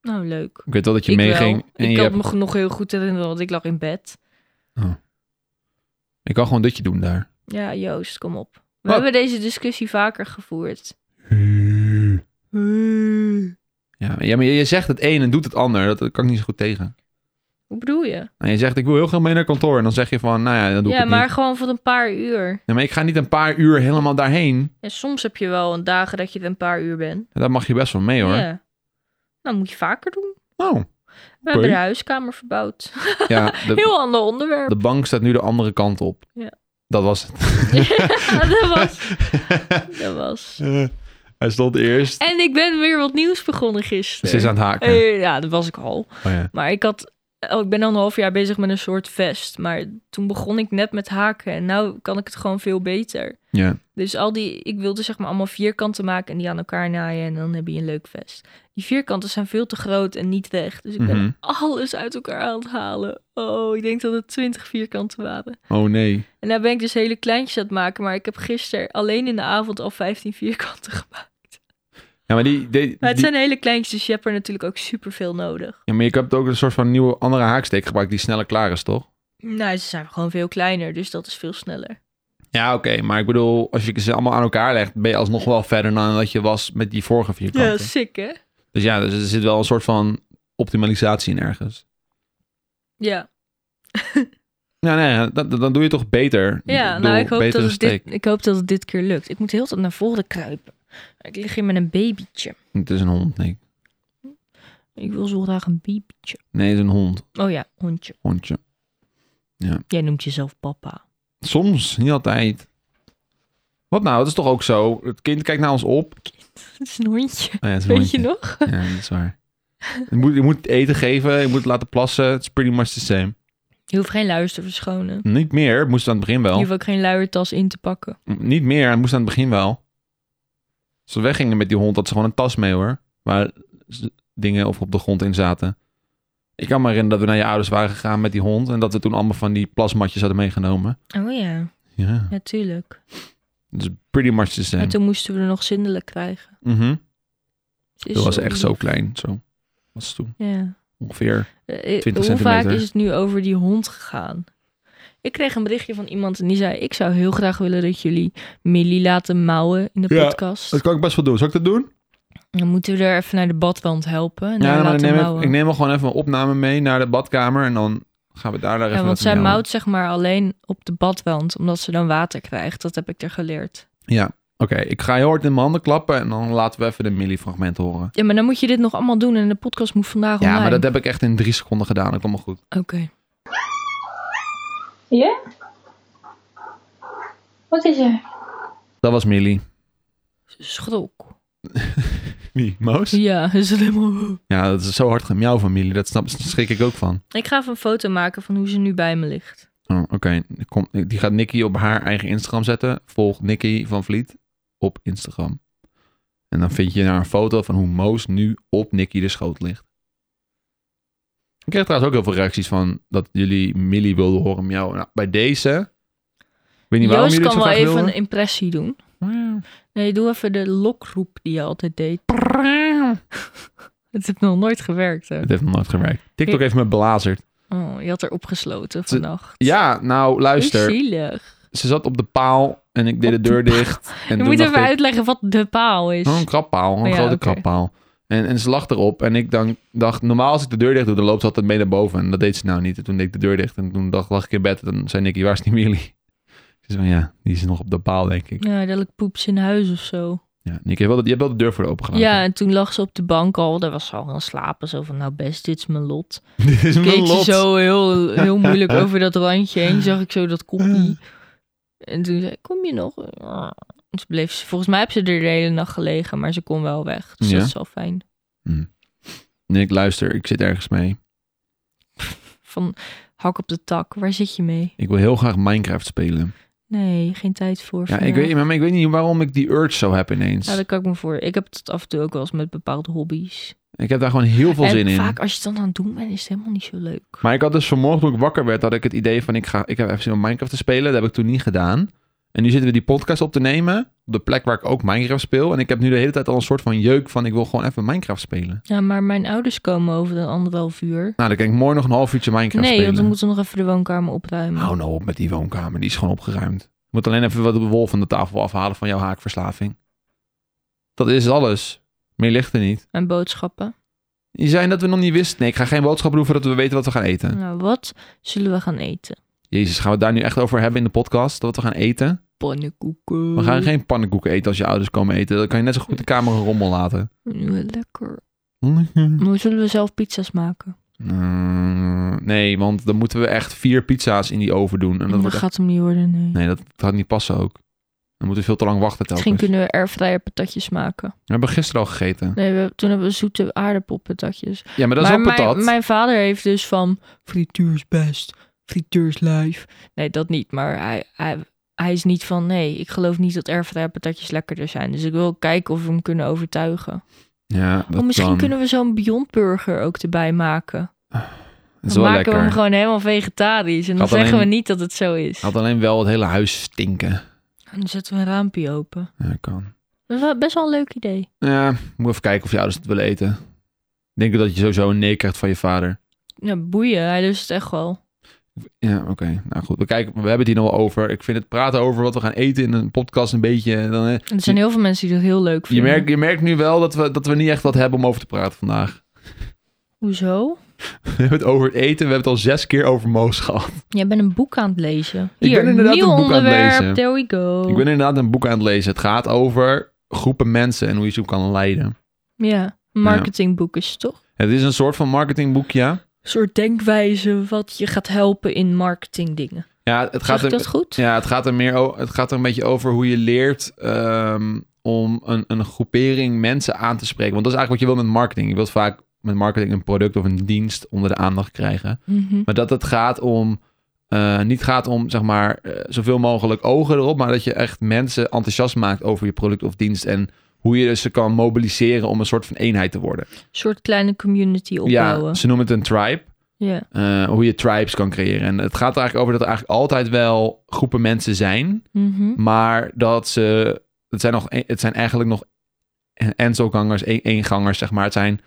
Speaker 2: Nou, leuk.
Speaker 1: Ik weet wel dat je
Speaker 2: ik
Speaker 1: meeging.
Speaker 2: wel.
Speaker 1: En
Speaker 2: Ik
Speaker 1: je
Speaker 2: kan
Speaker 1: hebt...
Speaker 2: me nog heel goed herinneren, want ik lag in bed.
Speaker 1: Ik kan gewoon ditje doen daar.
Speaker 2: Ja, Joost, kom op. We
Speaker 1: Wat?
Speaker 2: hebben deze discussie vaker gevoerd.
Speaker 1: Ja, ja maar je, je zegt het een en doet het ander. Dat, dat kan ik niet zo goed tegen.
Speaker 2: Hoe bedoel je?
Speaker 1: En je zegt, ik wil heel graag mee naar kantoor. En dan zeg je van, nou ja, dan doe ik
Speaker 2: Ja,
Speaker 1: het
Speaker 2: maar
Speaker 1: niet.
Speaker 2: gewoon voor een paar uur.
Speaker 1: Ja, maar ik ga niet een paar uur helemaal daarheen.
Speaker 2: En soms heb je wel een dagen dat je er een paar uur bent.
Speaker 1: Daar mag je best wel mee hoor.
Speaker 2: Ja. Nou, moet je vaker doen.
Speaker 1: Oh,
Speaker 2: We hebben de huiskamer verbouwd.
Speaker 1: ja, de,
Speaker 2: Heel ander onderwerp.
Speaker 1: de bank staat nu de andere kant op.
Speaker 2: Ja.
Speaker 1: Dat was het.
Speaker 2: Ja, dat was... Dat was...
Speaker 1: Eh, hij stond eerst.
Speaker 2: En ik ben weer wat nieuws begonnen
Speaker 1: Ze is
Speaker 2: gisteren.
Speaker 1: aan het haken.
Speaker 2: Eh, ja, dat was ik al.
Speaker 1: Oh, ja.
Speaker 2: Maar ik had... Oh, ik ben al een half jaar bezig met een soort vest. Maar toen begon ik net met haken. En nu kan ik het gewoon veel beter.
Speaker 1: Ja.
Speaker 2: Dus al die... Ik wilde zeg maar allemaal vierkanten maken en die aan elkaar naaien. En dan heb je een leuk vest. Die vierkanten zijn veel te groot en niet weg. Dus ik ben
Speaker 1: Mhm.
Speaker 2: alles uit elkaar aan het halen. Oh, ik denk dat het 20 vierkanten waren.
Speaker 1: Oh nee.
Speaker 2: En daar ben ik dus hele kleintjes aan het maken. Maar ik heb gisteren alleen in de avond al 15 vierkanten gemaakt.
Speaker 1: Ja, maar die, die,
Speaker 2: Maar het
Speaker 1: die-
Speaker 2: zijn hele kleintjes, dus je hebt er natuurlijk ook superveel nodig.
Speaker 1: ja, maar je hebt ook een soort van nieuwe andere haaksteek gebruikt die sneller klaar is, toch?
Speaker 2: Nou, ze zijn gewoon veel kleiner, dus dat is veel sneller.
Speaker 1: Ja, oké. Maar ik bedoel, als je ze allemaal aan elkaar legt, ben je alsnog wel verder dan dat je was met die vorige vierkanten.
Speaker 2: Ja, sick hè?
Speaker 1: Dus ja, dus er zit wel een soort van optimalisatie in ergens.
Speaker 2: Ja,
Speaker 1: Nou nee, dat- dat- dan doe je toch beter.
Speaker 2: ja
Speaker 1: bedoel,
Speaker 2: nou ik hoop, dat
Speaker 1: betere
Speaker 2: het dit,
Speaker 1: steek.
Speaker 2: ik hoop dat het dit keer lukt. Ik moet heel tijd naar voren kruipen. Ik lig hier met een babytje.
Speaker 1: Het is een hond, nee.
Speaker 2: Ik wil zo graag een babytje.
Speaker 1: Nee, het is een hond.
Speaker 2: Oh ja, hondje.
Speaker 1: Hondje.
Speaker 2: Jij noemt jezelf papa.
Speaker 1: Soms, niet altijd. Wat nou, het is toch ook zo. Het kind kijkt naar ons op.
Speaker 2: Het is een hondje.
Speaker 1: Oh ja, het is een
Speaker 2: Weet je
Speaker 1: hondje.
Speaker 2: nog?
Speaker 1: Ja, dat is waar. Je moet, je moet eten geven, je moet laten plassen. Het is pretty much the same.
Speaker 2: Je hoeft geen luier te verschonen.
Speaker 1: Niet meer, het moest aan het begin
Speaker 2: Je
Speaker 1: wel.
Speaker 2: hoeft ook geen luiertas in te pakken.
Speaker 1: Niet meer, het moest aan het begin wel. Als we weggingen met die hond, had ze gewoon een tas mee hoor. Waar z- dingen of op de grond in zaten. Ik kan me herinneren dat we naar je ouders waren gegaan met die hond. En dat we toen allemaal van die plasmatjes hadden meegenomen.
Speaker 2: Oh ja,
Speaker 1: Ja,
Speaker 2: natuurlijk.
Speaker 1: dus pretty much the same.
Speaker 2: En toen moesten we er nog zindelijk krijgen.
Speaker 1: Mhm.
Speaker 2: Ze is
Speaker 1: Dat was echt zo
Speaker 2: lief.
Speaker 1: klein. Zo was het toen.
Speaker 2: Ja.
Speaker 1: Ongeveer.
Speaker 2: Eh, eh,
Speaker 1: 20
Speaker 2: Hoe vaak
Speaker 1: centimeter.
Speaker 2: is het nu over die hond gegaan? Ik kreeg een berichtje van iemand en die zei... ik zou heel graag willen dat jullie Millie laten mouwen in de
Speaker 1: Ja,
Speaker 2: podcast.
Speaker 1: kan ik best wel doen. Zal ik dat doen?
Speaker 2: Dan moeten we er even naar de badwand helpen en
Speaker 1: Ja,
Speaker 2: haar
Speaker 1: maar dan
Speaker 2: laten
Speaker 1: neem ik,
Speaker 2: mouwen.
Speaker 1: ik neem wel gewoon even mijn opname mee naar de badkamer. En dan gaan we daar daar even
Speaker 2: ja, want
Speaker 1: laten
Speaker 2: zij
Speaker 1: miauwen.
Speaker 2: mouwt zeg maar alleen op de badwand... omdat ze dan water krijgt. Dat heb ik er geleerd.
Speaker 1: Ja, oké. Ik ga heel hard in mijn handen klappen. En dan laten we even de milliefragment horen.
Speaker 2: Ja, maar dan moet je dit nog allemaal doen... en de podcast moet vandaag
Speaker 1: Ja,
Speaker 2: online.
Speaker 1: maar dat heb ik echt in drie seconden gedaan. Dat kwam wel goed.
Speaker 2: Oké.
Speaker 3: Ja? Wat is er?
Speaker 1: Dat was Millie.
Speaker 2: Schrok.
Speaker 1: Wie? Moos?
Speaker 2: Ja, is het helemaal...
Speaker 1: Ja, dat is zo hard gemiauw van Millie. Dat snap, daar schrik ik ook van.
Speaker 2: Ik ga even een foto maken van hoe ze nu bij me ligt.
Speaker 1: Oh, oké. Kom- Die gaat Nicky op haar eigen Instagram zetten. Volg Nicky van Vliet op Instagram. En dan vind je daar een foto van hoe Moos nu op Nicky de schoot ligt. Ik kreeg trouwens ook heel veel reacties van dat jullie Millie wilden horen miauwen. Nou, bij deze... Ik weet niet waarom
Speaker 2: Joost
Speaker 1: jullie
Speaker 2: kan
Speaker 1: het zo
Speaker 2: wel
Speaker 1: graag
Speaker 2: even een
Speaker 1: wilden.
Speaker 2: impressie doen. Nee, doe even de lokroep die je altijd deed. Het heeft nog nooit gewerkt, hè?
Speaker 1: Het heeft nog nooit gewerkt. TikTok heeft me belazerd.
Speaker 2: Oh, je had er opgesloten
Speaker 1: Ze-
Speaker 2: vannacht.
Speaker 1: Ja, nou
Speaker 2: Hoe
Speaker 1: luister.
Speaker 2: zielig.
Speaker 1: Ze zat op de paal en ik deed de deur dicht. En
Speaker 2: Je
Speaker 1: toen
Speaker 2: moet
Speaker 1: dacht
Speaker 2: even
Speaker 1: ik,
Speaker 2: uitleggen wat de paal is.
Speaker 1: Oh, een krappaal, een
Speaker 2: Ja,
Speaker 1: grote
Speaker 2: oké.
Speaker 1: krappaal. En, en ze lag erop en ik dan dacht, normaal als ik de deur dicht doe, dan loopt ze altijd mee naar boven. En dat deed ze nou niet. En toen deed ik de deur dicht en toen dacht, lag ik in bed en toen zei Nicky, waar is die Millie? Ze zei van, ja, die is nog op de paal, denk ik.
Speaker 2: Ja, dadelijk poept ze in huis of zo.
Speaker 1: Ja, Nicky, je hebt wel de, je hebt wel de deur voor de open gelaten.
Speaker 2: Ja, en toen lag ze op de bank al. Daar was ze al gaan slapen. Zo van, nou best, dit is mijn lot.
Speaker 1: Dit is mijn
Speaker 2: Keek
Speaker 1: lot.
Speaker 2: ze zo heel, heel moeilijk over dat randje heen. Zag ik zo dat koppie. En toen zei ik, kom je nog? Dus bleef ze, volgens mij heb ze er de hele nacht gelegen. Maar ze kon wel weg. Dus
Speaker 1: Ja.
Speaker 2: dat is wel fijn.
Speaker 1: Nick, luister, ik zit ergens mee.
Speaker 2: Van hak op de tak, waar zit je mee?
Speaker 1: Ik wil heel graag Minecraft spelen.
Speaker 2: Nee, geen tijd voor.
Speaker 1: Ja, ik
Speaker 2: vandaag.
Speaker 1: weet, maar ik weet niet waarom ik die urge zo heb ineens.
Speaker 2: Ja, daar kan ik me voor. Ik heb het af en toe ook wel eens met bepaalde hobby's.
Speaker 1: Ik heb daar gewoon heel veel
Speaker 2: en
Speaker 1: zin in.
Speaker 2: vaak als je het dan aan het doen bent, is het helemaal niet zo leuk.
Speaker 1: Maar ik had dus vanmorgen toen ik wakker werd, had ik het idee van ik ga, ik heb even zin om Minecraft te spelen. Dat heb ik toen niet gedaan. En nu zitten we die podcast op te nemen. de plek waar ik ook Minecraft speel. En ik heb nu de hele tijd al een soort van jeuk van ik wil gewoon even Minecraft spelen.
Speaker 2: Ja, maar mijn ouders komen over een anderhalf uur.
Speaker 1: Nou, dan kan ik mooi nog een half uurtje Minecraft
Speaker 2: nee,
Speaker 1: spelen.
Speaker 2: want we moeten nog even de woonkamer opruimen.
Speaker 1: Hou nou op met die woonkamer, die is gewoon opgeruimd. Je moet alleen even wat de wol van de tafel afhalen van jouw haakverslaving. Dat is alles. Meer ligt er niet.
Speaker 2: En boodschappen.
Speaker 1: Je zei dat we nog niet wisten. Nee, ik ga geen boodschappen doen voordat we weten wat we gaan eten.
Speaker 2: Nou, wat zullen we gaan eten?
Speaker 1: Jezus, gaan we het daar nu echt over hebben in de podcast? Dat we gaan eten?
Speaker 2: Pannenkoeken.
Speaker 1: We gaan geen pannenkoeken eten als je ouders komen eten. Dan kan je net zo goed de kamer een rommel laten.
Speaker 2: Ja, Lekker.
Speaker 1: Hm.
Speaker 2: Maar zullen we zelf pizza's maken?
Speaker 1: Mm, nee, want dan moeten we echt vier pizza's in die oven doen. En dat
Speaker 2: Dat,
Speaker 1: wordt echt-
Speaker 2: gaat hem niet worden, nee.
Speaker 1: Nee, dat gaat niet passen ook. Dan moeten we veel te lang wachten telkens.
Speaker 2: Misschien kunnen we airfryer patatjes maken.
Speaker 1: We hebben gisteren al gegeten.
Speaker 2: Nee, we, toen hebben we zoete aardappelpatatjes.
Speaker 1: Ja, maar dat
Speaker 2: maar
Speaker 1: is ook
Speaker 2: mijn,
Speaker 1: patat.
Speaker 2: mijn vader heeft dus van frituur is best, frituur is lijf. Nee, dat niet. Maar hij, hij, hij is niet van nee, ik geloof niet dat airfryer patatjes lekkerder zijn. Dus ik wil kijken of we hem kunnen overtuigen.
Speaker 1: Ja, dat
Speaker 2: Of oh, misschien
Speaker 1: kan.
Speaker 2: kunnen we zo'n Beyond Burger ook erbij maken.
Speaker 1: Dat is
Speaker 2: dan
Speaker 1: wel
Speaker 2: maken we
Speaker 1: lekker.
Speaker 2: hem gewoon helemaal vegetarisch. En dan
Speaker 1: Had
Speaker 2: zeggen
Speaker 1: alleen-
Speaker 2: we niet dat het zo is.
Speaker 1: Had alleen wel het hele huis stinken.
Speaker 2: En dan zetten we een raampje open.
Speaker 1: Ja, kan.
Speaker 2: Dat is wel best wel een leuk idee.
Speaker 1: Ja, moet even kijken of je ouders het willen eten. Ik Denk dat je sowieso een nee krijgt van je vader.
Speaker 2: Ja, boeien. Hij lust het echt wel.
Speaker 1: Ja, oké. Nou goed, we, kijken, we hebben het hier nog wel over. Ik vind het praten over wat we gaan eten in een podcast een beetje... eh, Dan, eh,
Speaker 2: En er zijn heel veel mensen die dat heel leuk
Speaker 1: je,
Speaker 2: vinden.
Speaker 1: merkt, je merkt nu wel dat we, dat we niet echt wat hebben om over te praten vandaag.
Speaker 2: Hoezo?
Speaker 1: We hebben het over het eten. We hebben het al zes keer over Moos gehad.
Speaker 2: Jij bent een boek aan het lezen.
Speaker 1: ben
Speaker 2: Hier,
Speaker 1: inderdaad
Speaker 2: nieuw
Speaker 1: een boek aan het
Speaker 2: onderwerp.
Speaker 1: lezen.
Speaker 2: There we go.
Speaker 1: Ik ben inderdaad een boek aan het lezen. Het gaat over groepen mensen en hoe je ze kan leiden.
Speaker 2: Ja, marketingboek is het toch?
Speaker 1: Het is een soort van marketingboek, ja.
Speaker 2: Een soort denkwijze wat je gaat helpen in marketingdingen.
Speaker 1: Ja, het
Speaker 2: Gaat
Speaker 1: gaat
Speaker 2: ik
Speaker 1: er,
Speaker 2: dat goed?
Speaker 1: ja, het gaat er meer o- het gaat er een beetje over hoe je leert ehm, om een, een groepering mensen aan te spreken. Want dat is eigenlijk wat je wil met marketing. Je wilt vaak met marketing een product of een dienst onder de aandacht krijgen.
Speaker 2: Mhm.
Speaker 1: Maar dat het gaat om, eh, niet gaat om zeg maar eh, zoveel mogelijk ogen erop, maar dat je echt mensen enthousiast maakt over je product of dienst en hoe je ze kan mobiliseren om een soort van eenheid te worden.
Speaker 2: Een soort kleine community opbouwen.
Speaker 1: Ja, ze noemen het een tribe.
Speaker 2: Ja.
Speaker 1: eh, hoe je tribes kan creëren. En het gaat er eigenlijk over dat er eigenlijk altijd wel groepen mensen zijn.
Speaker 2: Mhm.
Speaker 1: Maar dat ze. Het zijn, nog, e- het zijn eigenlijk nog enzo-gangers, een- eengangers, zeg maar. Het zijn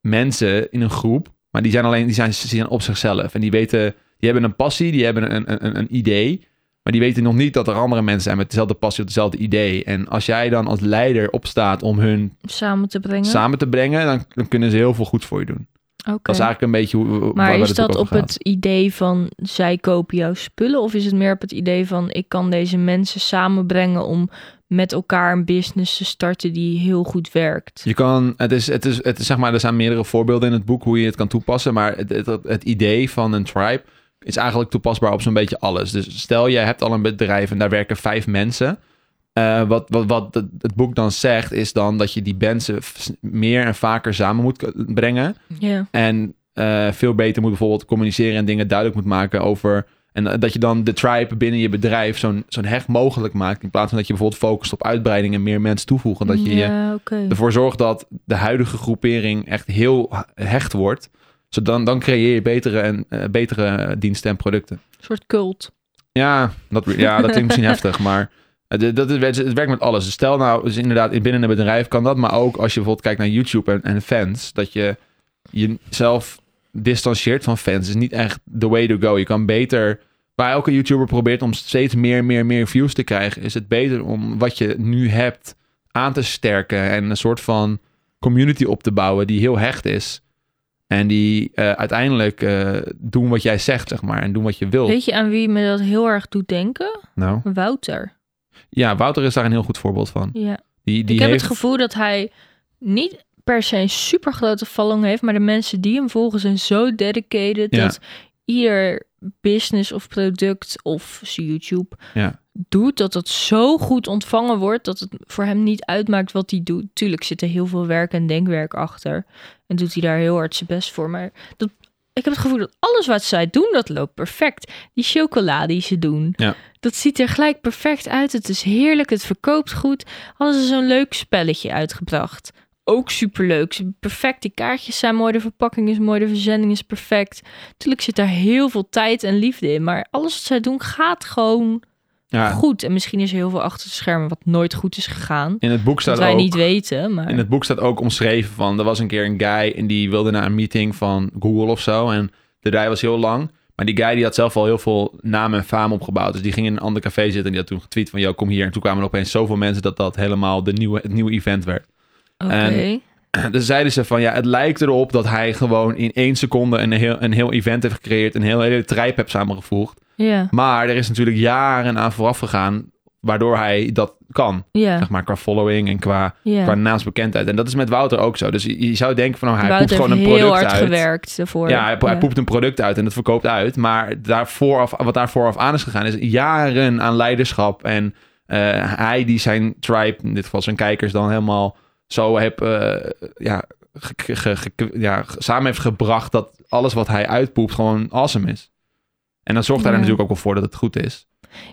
Speaker 1: mensen in een groep. Maar die zijn alleen die zijn, die zijn op zichzelf. En die weten. Die hebben een passie, die hebben een, een, een- een idee. Maar die weten nog niet dat er andere mensen zijn met dezelfde passie of hetzelfde idee. En als jij dan als leider opstaat om hun
Speaker 2: Samen te brengen.
Speaker 1: samen te brengen, dan, dan kunnen ze heel veel goed voor je doen.
Speaker 2: Oké.
Speaker 1: Dat is eigenlijk een beetje hoe. hoe- waar-
Speaker 2: Maar
Speaker 1: waar
Speaker 2: is
Speaker 1: het ook
Speaker 2: dat op
Speaker 1: over gaat.
Speaker 2: het idee van zij kopen jouw spullen? Of is het meer op het idee van ik kan deze mensen samenbrengen om met elkaar een business te starten die heel goed werkt?
Speaker 1: Je kan, het is, het is, het is, zeg maar, er zijn meerdere voorbeelden in het boek hoe je het kan toepassen, maar het, het, het idee van een tribe is eigenlijk toepasbaar op zo'n beetje alles. Dus stel jij hebt al een bedrijf en daar werken vijf mensen. Eh, wat wat, wat het, het boek dan zegt, is dan dat je die mensen f- meer en vaker samen moet k- brengen.
Speaker 2: Ja.
Speaker 1: En eh, veel beter moet bijvoorbeeld communiceren en dingen duidelijk moet maken over. En eh, dat je dan de tribe binnen je bedrijf zo'n zo'n heg mogelijk maakt. In plaats van dat je bijvoorbeeld focust op uitbreiding en meer mensen toevoegen. Dat je je
Speaker 2: ja, oké.
Speaker 1: ervoor zorgt dat de huidige groepering echt heel hecht wordt. Zodan, dan creëer je betere, en, eh, betere diensten en producten.
Speaker 2: Een soort cult.
Speaker 1: Ja, dat, ja, dat klinkt misschien heftig, maar het, dat, is- het werkt met alles. Dus stel nou, dus inderdaad, binnen een bedrijf kan dat, maar ook als je bijvoorbeeld kijkt naar YouTube en, en fans, dat je jezelf distancieert van fans, is niet echt the way to go. Je kan beter, waar elke YouTuber probeert om steeds meer, meer, meer views te krijgen, is het beter om wat je nu hebt aan te sterken en een soort van community op te bouwen die heel hecht is. En die eh, uiteindelijk eh, doen wat jij zegt, zeg maar. En doen wat je wilt.
Speaker 2: Weet je aan wie me dat heel erg doet denken?
Speaker 1: Nou.
Speaker 2: Wouter.
Speaker 1: Ja, Wouter is daar een heel goed voorbeeld van.
Speaker 2: Ja.
Speaker 1: Die, die
Speaker 2: ik heb
Speaker 1: heeft,
Speaker 2: het gevoel dat hij niet per se een super grote following heeft, maar de mensen die hem volgen zijn zo dedicated
Speaker 1: Ja.
Speaker 2: dat ieder business of product of YouTube
Speaker 1: Ja.
Speaker 2: doet dat dat zo goed ontvangen wordt dat het voor hem niet uitmaakt wat hij doet. Tuurlijk zit er heel veel werk en denkwerk achter en doet hij daar heel hard zijn best voor, maar dat ik heb het gevoel dat alles wat zij doen, dat loopt perfect. Die chocola die ze doen,
Speaker 1: Ja.
Speaker 2: dat ziet er gelijk perfect uit. Het is heerlijk, het verkoopt goed hadden ze zo'n leuk spelletje uitgebracht. Ook superleuk. Ze- Perfect. Die kaartjes zijn mooi. De verpakking is mooi. De verzending is perfect. Tuurlijk zit daar heel veel tijd en liefde in. Maar alles wat zij doen gaat gewoon
Speaker 1: Ja,
Speaker 2: goed. En misschien is er heel veel achter de schermen wat nooit goed is gegaan.
Speaker 1: in het boek
Speaker 2: Dat
Speaker 1: staat
Speaker 2: wij
Speaker 1: ook...
Speaker 2: niet weten, maar...
Speaker 1: In het boek staat ook omschreven van... Er was een keer een guy en die wilde naar een meeting van Google of zo. En de rij was heel lang. Maar die guy die had zelf al heel veel naam en faam opgebouwd. Dus die ging in een ander café zitten en die had toen getweet van... Yo, kom hier. En toen kwamen er opeens zoveel mensen dat dat helemaal de nieuwe, het nieuwe event werd.
Speaker 2: Oké.
Speaker 1: en- Dus zeiden ze van ja, het lijkt erop dat hij gewoon in één seconde een heel, een heel event heeft gecreëerd, een heel hele trijp heeft samengevoegd.
Speaker 2: Ja,
Speaker 1: Maar er is natuurlijk jaren aan vooraf gegaan waardoor hij dat kan.
Speaker 2: ja,
Speaker 1: Zeg maar qua following en qua, qua
Speaker 2: ja.
Speaker 1: naamsbekendheid. En dat is met Wouter ook zo. Dus je, je zou denken van nou, hij
Speaker 2: Wout
Speaker 1: poept
Speaker 2: heeft
Speaker 1: gewoon een
Speaker 2: heel
Speaker 1: product
Speaker 2: hard
Speaker 1: uit.
Speaker 2: gewerkt daarvoor.
Speaker 1: Ja, hij, po- hij poept een product uit en dat verkoopt uit. Maar daar vooraf, wat daar vooraf aan is gegaan, is jaren aan leiderschap. En eh, hij die zijn tribe, in dit geval zijn kijkers, dan helemaal zo heb, eh, ja, ge- ge- ge- ja, ge- samen heeft gebracht dat alles wat hij uitpoept gewoon awesome is. En dan zorgt hij er
Speaker 2: Ja.
Speaker 1: natuurlijk ook wel voor dat het goed is.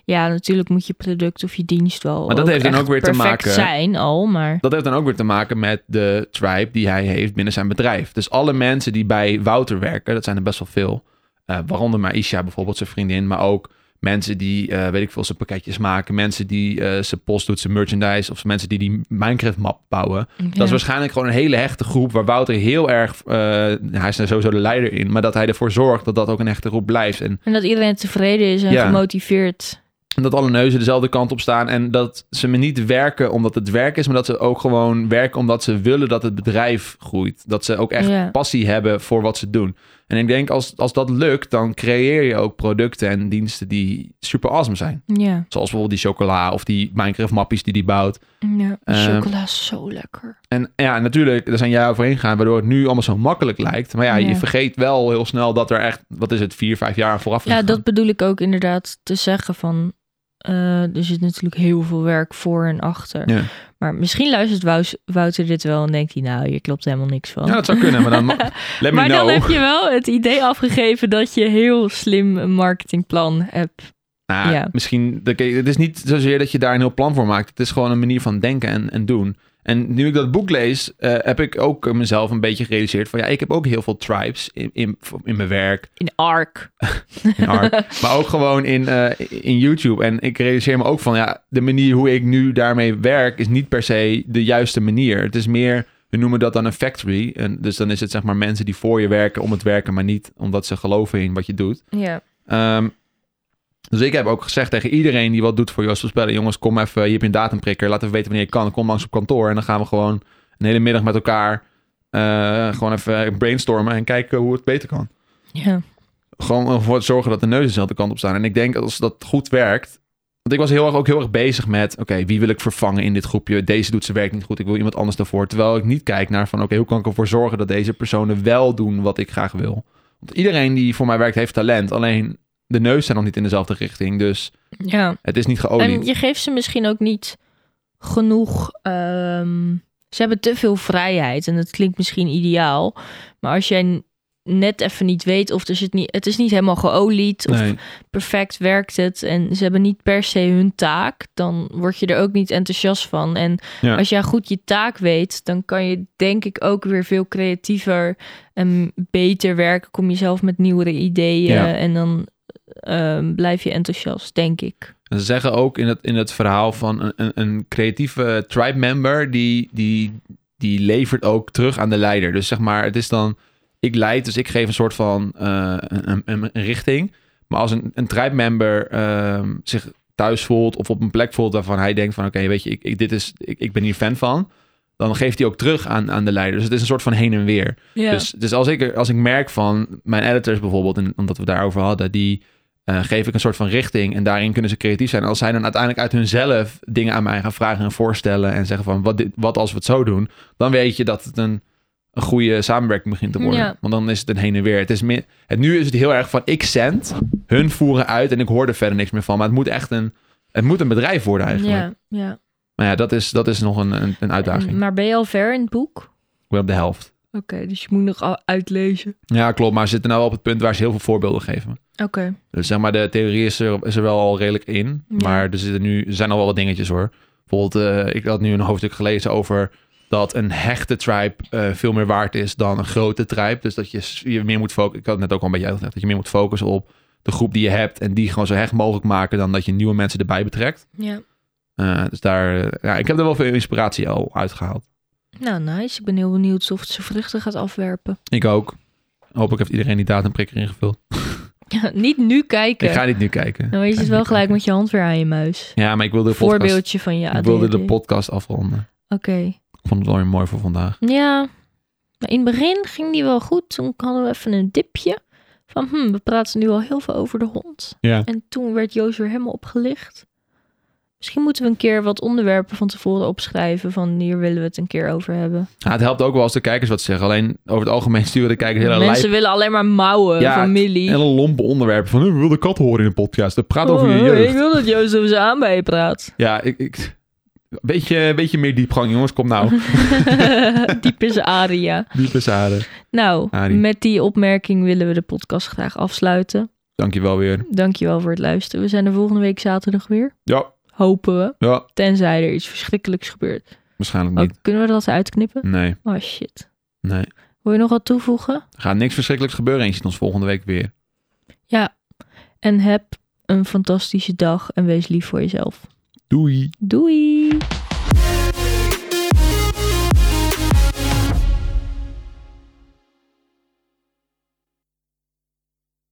Speaker 2: Ja, natuurlijk moet je product of je dienst wel.
Speaker 1: Maar dat heeft dan
Speaker 2: echt
Speaker 1: ook weer te
Speaker 2: perfect
Speaker 1: maken-
Speaker 2: zijn al, maar.
Speaker 1: Dat heeft dan ook weer te maken met de tribe die hij heeft binnen zijn bedrijf. Dus alle mensen die bij Wouter werken, dat zijn er best wel veel. eh, waaronder Maisha bijvoorbeeld, zijn vriendin. Maar ook mensen die, eh, weet ik veel, zijn pakketjes maken. Mensen die eh, zijn post doet, zijn merchandise. Of mensen die die Minecraft-map bouwen. Dat is waarschijnlijk gewoon een hele hechte groep waar Wouter heel erg... eh, hij is daar sowieso de leider in. Maar dat hij ervoor zorgt dat dat ook een hechte groep blijft. En
Speaker 2: En dat iedereen tevreden is en
Speaker 1: Ja.
Speaker 2: gemotiveerd.
Speaker 1: dat alle neuzen dezelfde kant op staan. En dat ze me niet werken omdat het werk is, maar dat ze ook gewoon werken omdat ze willen dat het bedrijf groeit. Dat ze ook echt
Speaker 2: Ja.
Speaker 1: passie hebben voor wat ze doen. En ik denk, als, als dat lukt, dan creëer je ook producten en diensten die super awesome zijn.
Speaker 2: Ja.
Speaker 1: Zoals bijvoorbeeld die chocola of die Minecraft-mappies die die bouwt.
Speaker 2: ja.
Speaker 1: Eh,
Speaker 2: Chocola is zo lekker.
Speaker 1: En ja, natuurlijk, daar zijn jij overheen gegaan, waardoor het nu allemaal zo makkelijk lijkt. Maar ja,
Speaker 2: Ja.
Speaker 1: je vergeet wel heel snel dat er echt, wat is het, vier, vijf jaar aan vooraf is
Speaker 2: Ja,
Speaker 1: gegaan.
Speaker 2: dat bedoel ik ook inderdaad te zeggen van. eh, er zit natuurlijk heel veel werk voor en achter.
Speaker 1: Ja.
Speaker 2: Maar misschien luistert Wous- Wouter dit wel en denkt hij, nou, hier klopt helemaal niks van.
Speaker 1: Ja, dat zou kunnen, maar dan... ma- Let me
Speaker 2: maar
Speaker 1: know.
Speaker 2: dan heb je wel het idee afgegeven dat je heel slim een marketingplan hebt.
Speaker 1: Nou,
Speaker 2: Ja.
Speaker 1: misschien. dat- kijk, Het is niet zozeer dat je daar een heel plan voor maakt. Het is gewoon een manier van denken en, en doen. En nu ik dat boek lees, eh, heb ik ook mezelf een beetje gerealiseerd van ja, ik heb ook heel veel tribes in, in, in mijn werk,
Speaker 2: In ARC.
Speaker 1: in art, maar ook gewoon in, eh, in YouTube. En ik realiseer me ook van ja, de manier hoe ik nu daarmee werk is niet per se de juiste manier. Het is meer, we noemen dat dan een factory. En dus dan is het zeg maar mensen die voor je werken om het werken, maar niet omdat ze geloven in wat je doet.
Speaker 2: Ja.
Speaker 1: Ehm, dus ik heb ook gezegd tegen iedereen die wat doet voor Joost Voorspellen... jongens, kom even, hier heb je een datumprikker. Laat even weten wanneer je kan. Kom langs op kantoor en dan gaan we gewoon een hele middag met elkaar... eh, gewoon even brainstormen en kijken hoe het beter kan.
Speaker 2: Ja.
Speaker 1: Gewoon ervoor te zorgen dat de neuzen dezelfde kant op staan. En ik denk als dat goed werkt... Want ik was heel erg, ook heel erg bezig met... oké, wie wil ik vervangen in dit groepje? Deze doet zijn werk niet goed, ik wil iemand anders daarvoor. Terwijl ik niet kijk naar van... oké, hoe kan ik ervoor zorgen dat deze personen wel doen wat ik graag wil? Want iedereen die voor mij werkt heeft talent. Alleen de neus zijn nog niet in dezelfde richting. Dus
Speaker 2: ja.
Speaker 1: het is niet
Speaker 2: En
Speaker 1: geolied.
Speaker 2: je geeft ze misschien ook niet genoeg. ehm, ze hebben te veel vrijheid en dat klinkt misschien ideaal. Maar als jij n- net even niet weet of er zit niet, het is niet helemaal geolied of
Speaker 1: Nee.
Speaker 2: perfect werkt het en ze hebben niet per se hun taak, dan word je er ook niet enthousiast van. En
Speaker 1: Ja.
Speaker 2: als jij goed je taak weet, dan kan je denk ik ook weer veel creatiever en beter werken. Kom je zelf met nieuwere ideeën
Speaker 1: Ja.
Speaker 2: en dan ehm, blijf je enthousiast, denk ik.
Speaker 1: En ze zeggen ook in het, in het verhaal van een, een, een creatieve tribe member... Die, die, die levert ook terug aan de leider. Dus zeg maar, het is dan... Ik leid, dus ik geef een soort van eh, een, een, een richting. Maar als een, een tribe member ehm, zich thuis voelt... of op een plek voelt waarvan hij denkt van... oké, weet je, ik, ik, dit is, ik, ik ben hier fan van... dan geeft hij ook terug aan, aan de leider. Dus het is een soort van heen en weer.
Speaker 2: Ja.
Speaker 1: Dus, dus als, ik, er- als ik merk van mijn editors bijvoorbeeld, en omdat we het daarover hadden, die eh, geef ik een soort van richting en daarin kunnen ze creatief zijn. Als zij dan uiteindelijk uit hunzelf dingen aan mij gaan vragen en voorstellen en zeggen van wat, dit, wat als we het zo doen, dan weet je dat het een, een goede samenwerking begint te worden.
Speaker 2: Ja.
Speaker 1: Want dan is het een heen en weer. Het is meer, het, nu is het heel erg van ik zend, hun voeren uit en ik hoor er verder niks meer van. Maar het moet echt een, het moet een bedrijf worden eigenlijk.
Speaker 2: Ja, Mm. ja.
Speaker 1: Maar ja, dat is, dat is nog een, een, een uitdaging.
Speaker 2: Maar ben je al ver in het boek? Oké,
Speaker 1: We op de helft.
Speaker 2: dus je moet nog al uitlezen.
Speaker 1: Ja, klopt. Maar ze zitten nou wel op het punt waar ze heel veel voorbeelden geven.
Speaker 2: Oké.
Speaker 1: Dus zeg maar, de theorie is er, is er wel al redelijk in.
Speaker 2: Ja.
Speaker 1: Maar er, zitten nu, er zijn al wel wat dingetjes hoor. Bijvoorbeeld, eh, ik had nu een hoofdstuk gelezen over dat een hechte tribe eh, veel meer waard is dan een grote tribe. Dus dat je s- je meer moet focussen. Ik had het net ook al een beetje uitgelegd. Dat je meer moet focussen op de groep die je hebt en die gewoon zo hecht mogelijk maken dan dat je nieuwe mensen erbij betrekt.
Speaker 2: Ja.
Speaker 1: Eh, dus daar, eh, ja, ik heb er wel veel inspiratie al uitgehaald.
Speaker 2: Nou, nice. Ik ben heel benieuwd of het zijn vruchten gaat afwerpen.
Speaker 1: Ik ook. Hopelijk heeft iedereen die datumprikker ingevuld.
Speaker 2: Ja, niet nu kijken.
Speaker 1: Ik ga niet nu kijken.
Speaker 2: Dan is
Speaker 1: Ik ga
Speaker 2: het
Speaker 1: niet
Speaker 2: wel gelijk
Speaker 1: kijken.
Speaker 2: met je hand weer aan je muis.
Speaker 1: Ja, maar ik wilde de podcast,
Speaker 2: Voorbeeldje van je
Speaker 1: ik
Speaker 2: ADHD.
Speaker 1: wilde de
Speaker 2: Oké.
Speaker 1: podcast afronden. Ik vond het wel weer mooi voor vandaag.
Speaker 2: Ja. Nou, in het begin ging die wel goed. Toen hadden we even een dipje. Van, hm, we praten nu al heel veel over de hond.
Speaker 1: Ja.
Speaker 2: En toen werd Joost weer helemaal opgelicht. Misschien moeten we een keer wat onderwerpen van tevoren opschrijven. Van, hier willen we het een keer over hebben.
Speaker 1: het helpt ook wel als de kijkers wat zeggen. Alleen over het algemeen sturen de kijkers hele
Speaker 2: Mensen willen alleen maar mouwen,
Speaker 1: Ja,
Speaker 2: familie.
Speaker 1: hele lompe onderwerpen. Van, "Eh, we willen katten horen in de podcast. Dat praat over je
Speaker 2: Oh, ik
Speaker 1: jeugd.
Speaker 2: wil dat Joost over zijn aanbij praat.
Speaker 1: Ja, ik... ik beetje, beetje meer diepgang, jongens. Kom nou.
Speaker 2: Diep is Aria.
Speaker 1: Diepe zaden.
Speaker 2: Nou,
Speaker 1: Arie.
Speaker 2: met die opmerking willen we de podcast graag afsluiten.
Speaker 1: Dankjewel weer.
Speaker 2: Dankjewel voor het luisteren. We zijn er volgende week zaterdag weer.
Speaker 1: Ja,
Speaker 2: Hopen we.
Speaker 1: ja.
Speaker 2: Tenzij er iets verschrikkelijks gebeurt.
Speaker 1: Waarschijnlijk
Speaker 2: Oh,
Speaker 1: niet.
Speaker 2: kunnen we dat uitknippen?
Speaker 1: Nee,
Speaker 2: Oh shit.
Speaker 1: nee.
Speaker 2: Wil je nog wat toevoegen?
Speaker 1: Er gaat niks verschrikkelijks gebeuren en je ziet ons volgende week weer.
Speaker 2: En heb een fantastische dag en wees lief voor jezelf.
Speaker 1: Doei.
Speaker 2: Doei!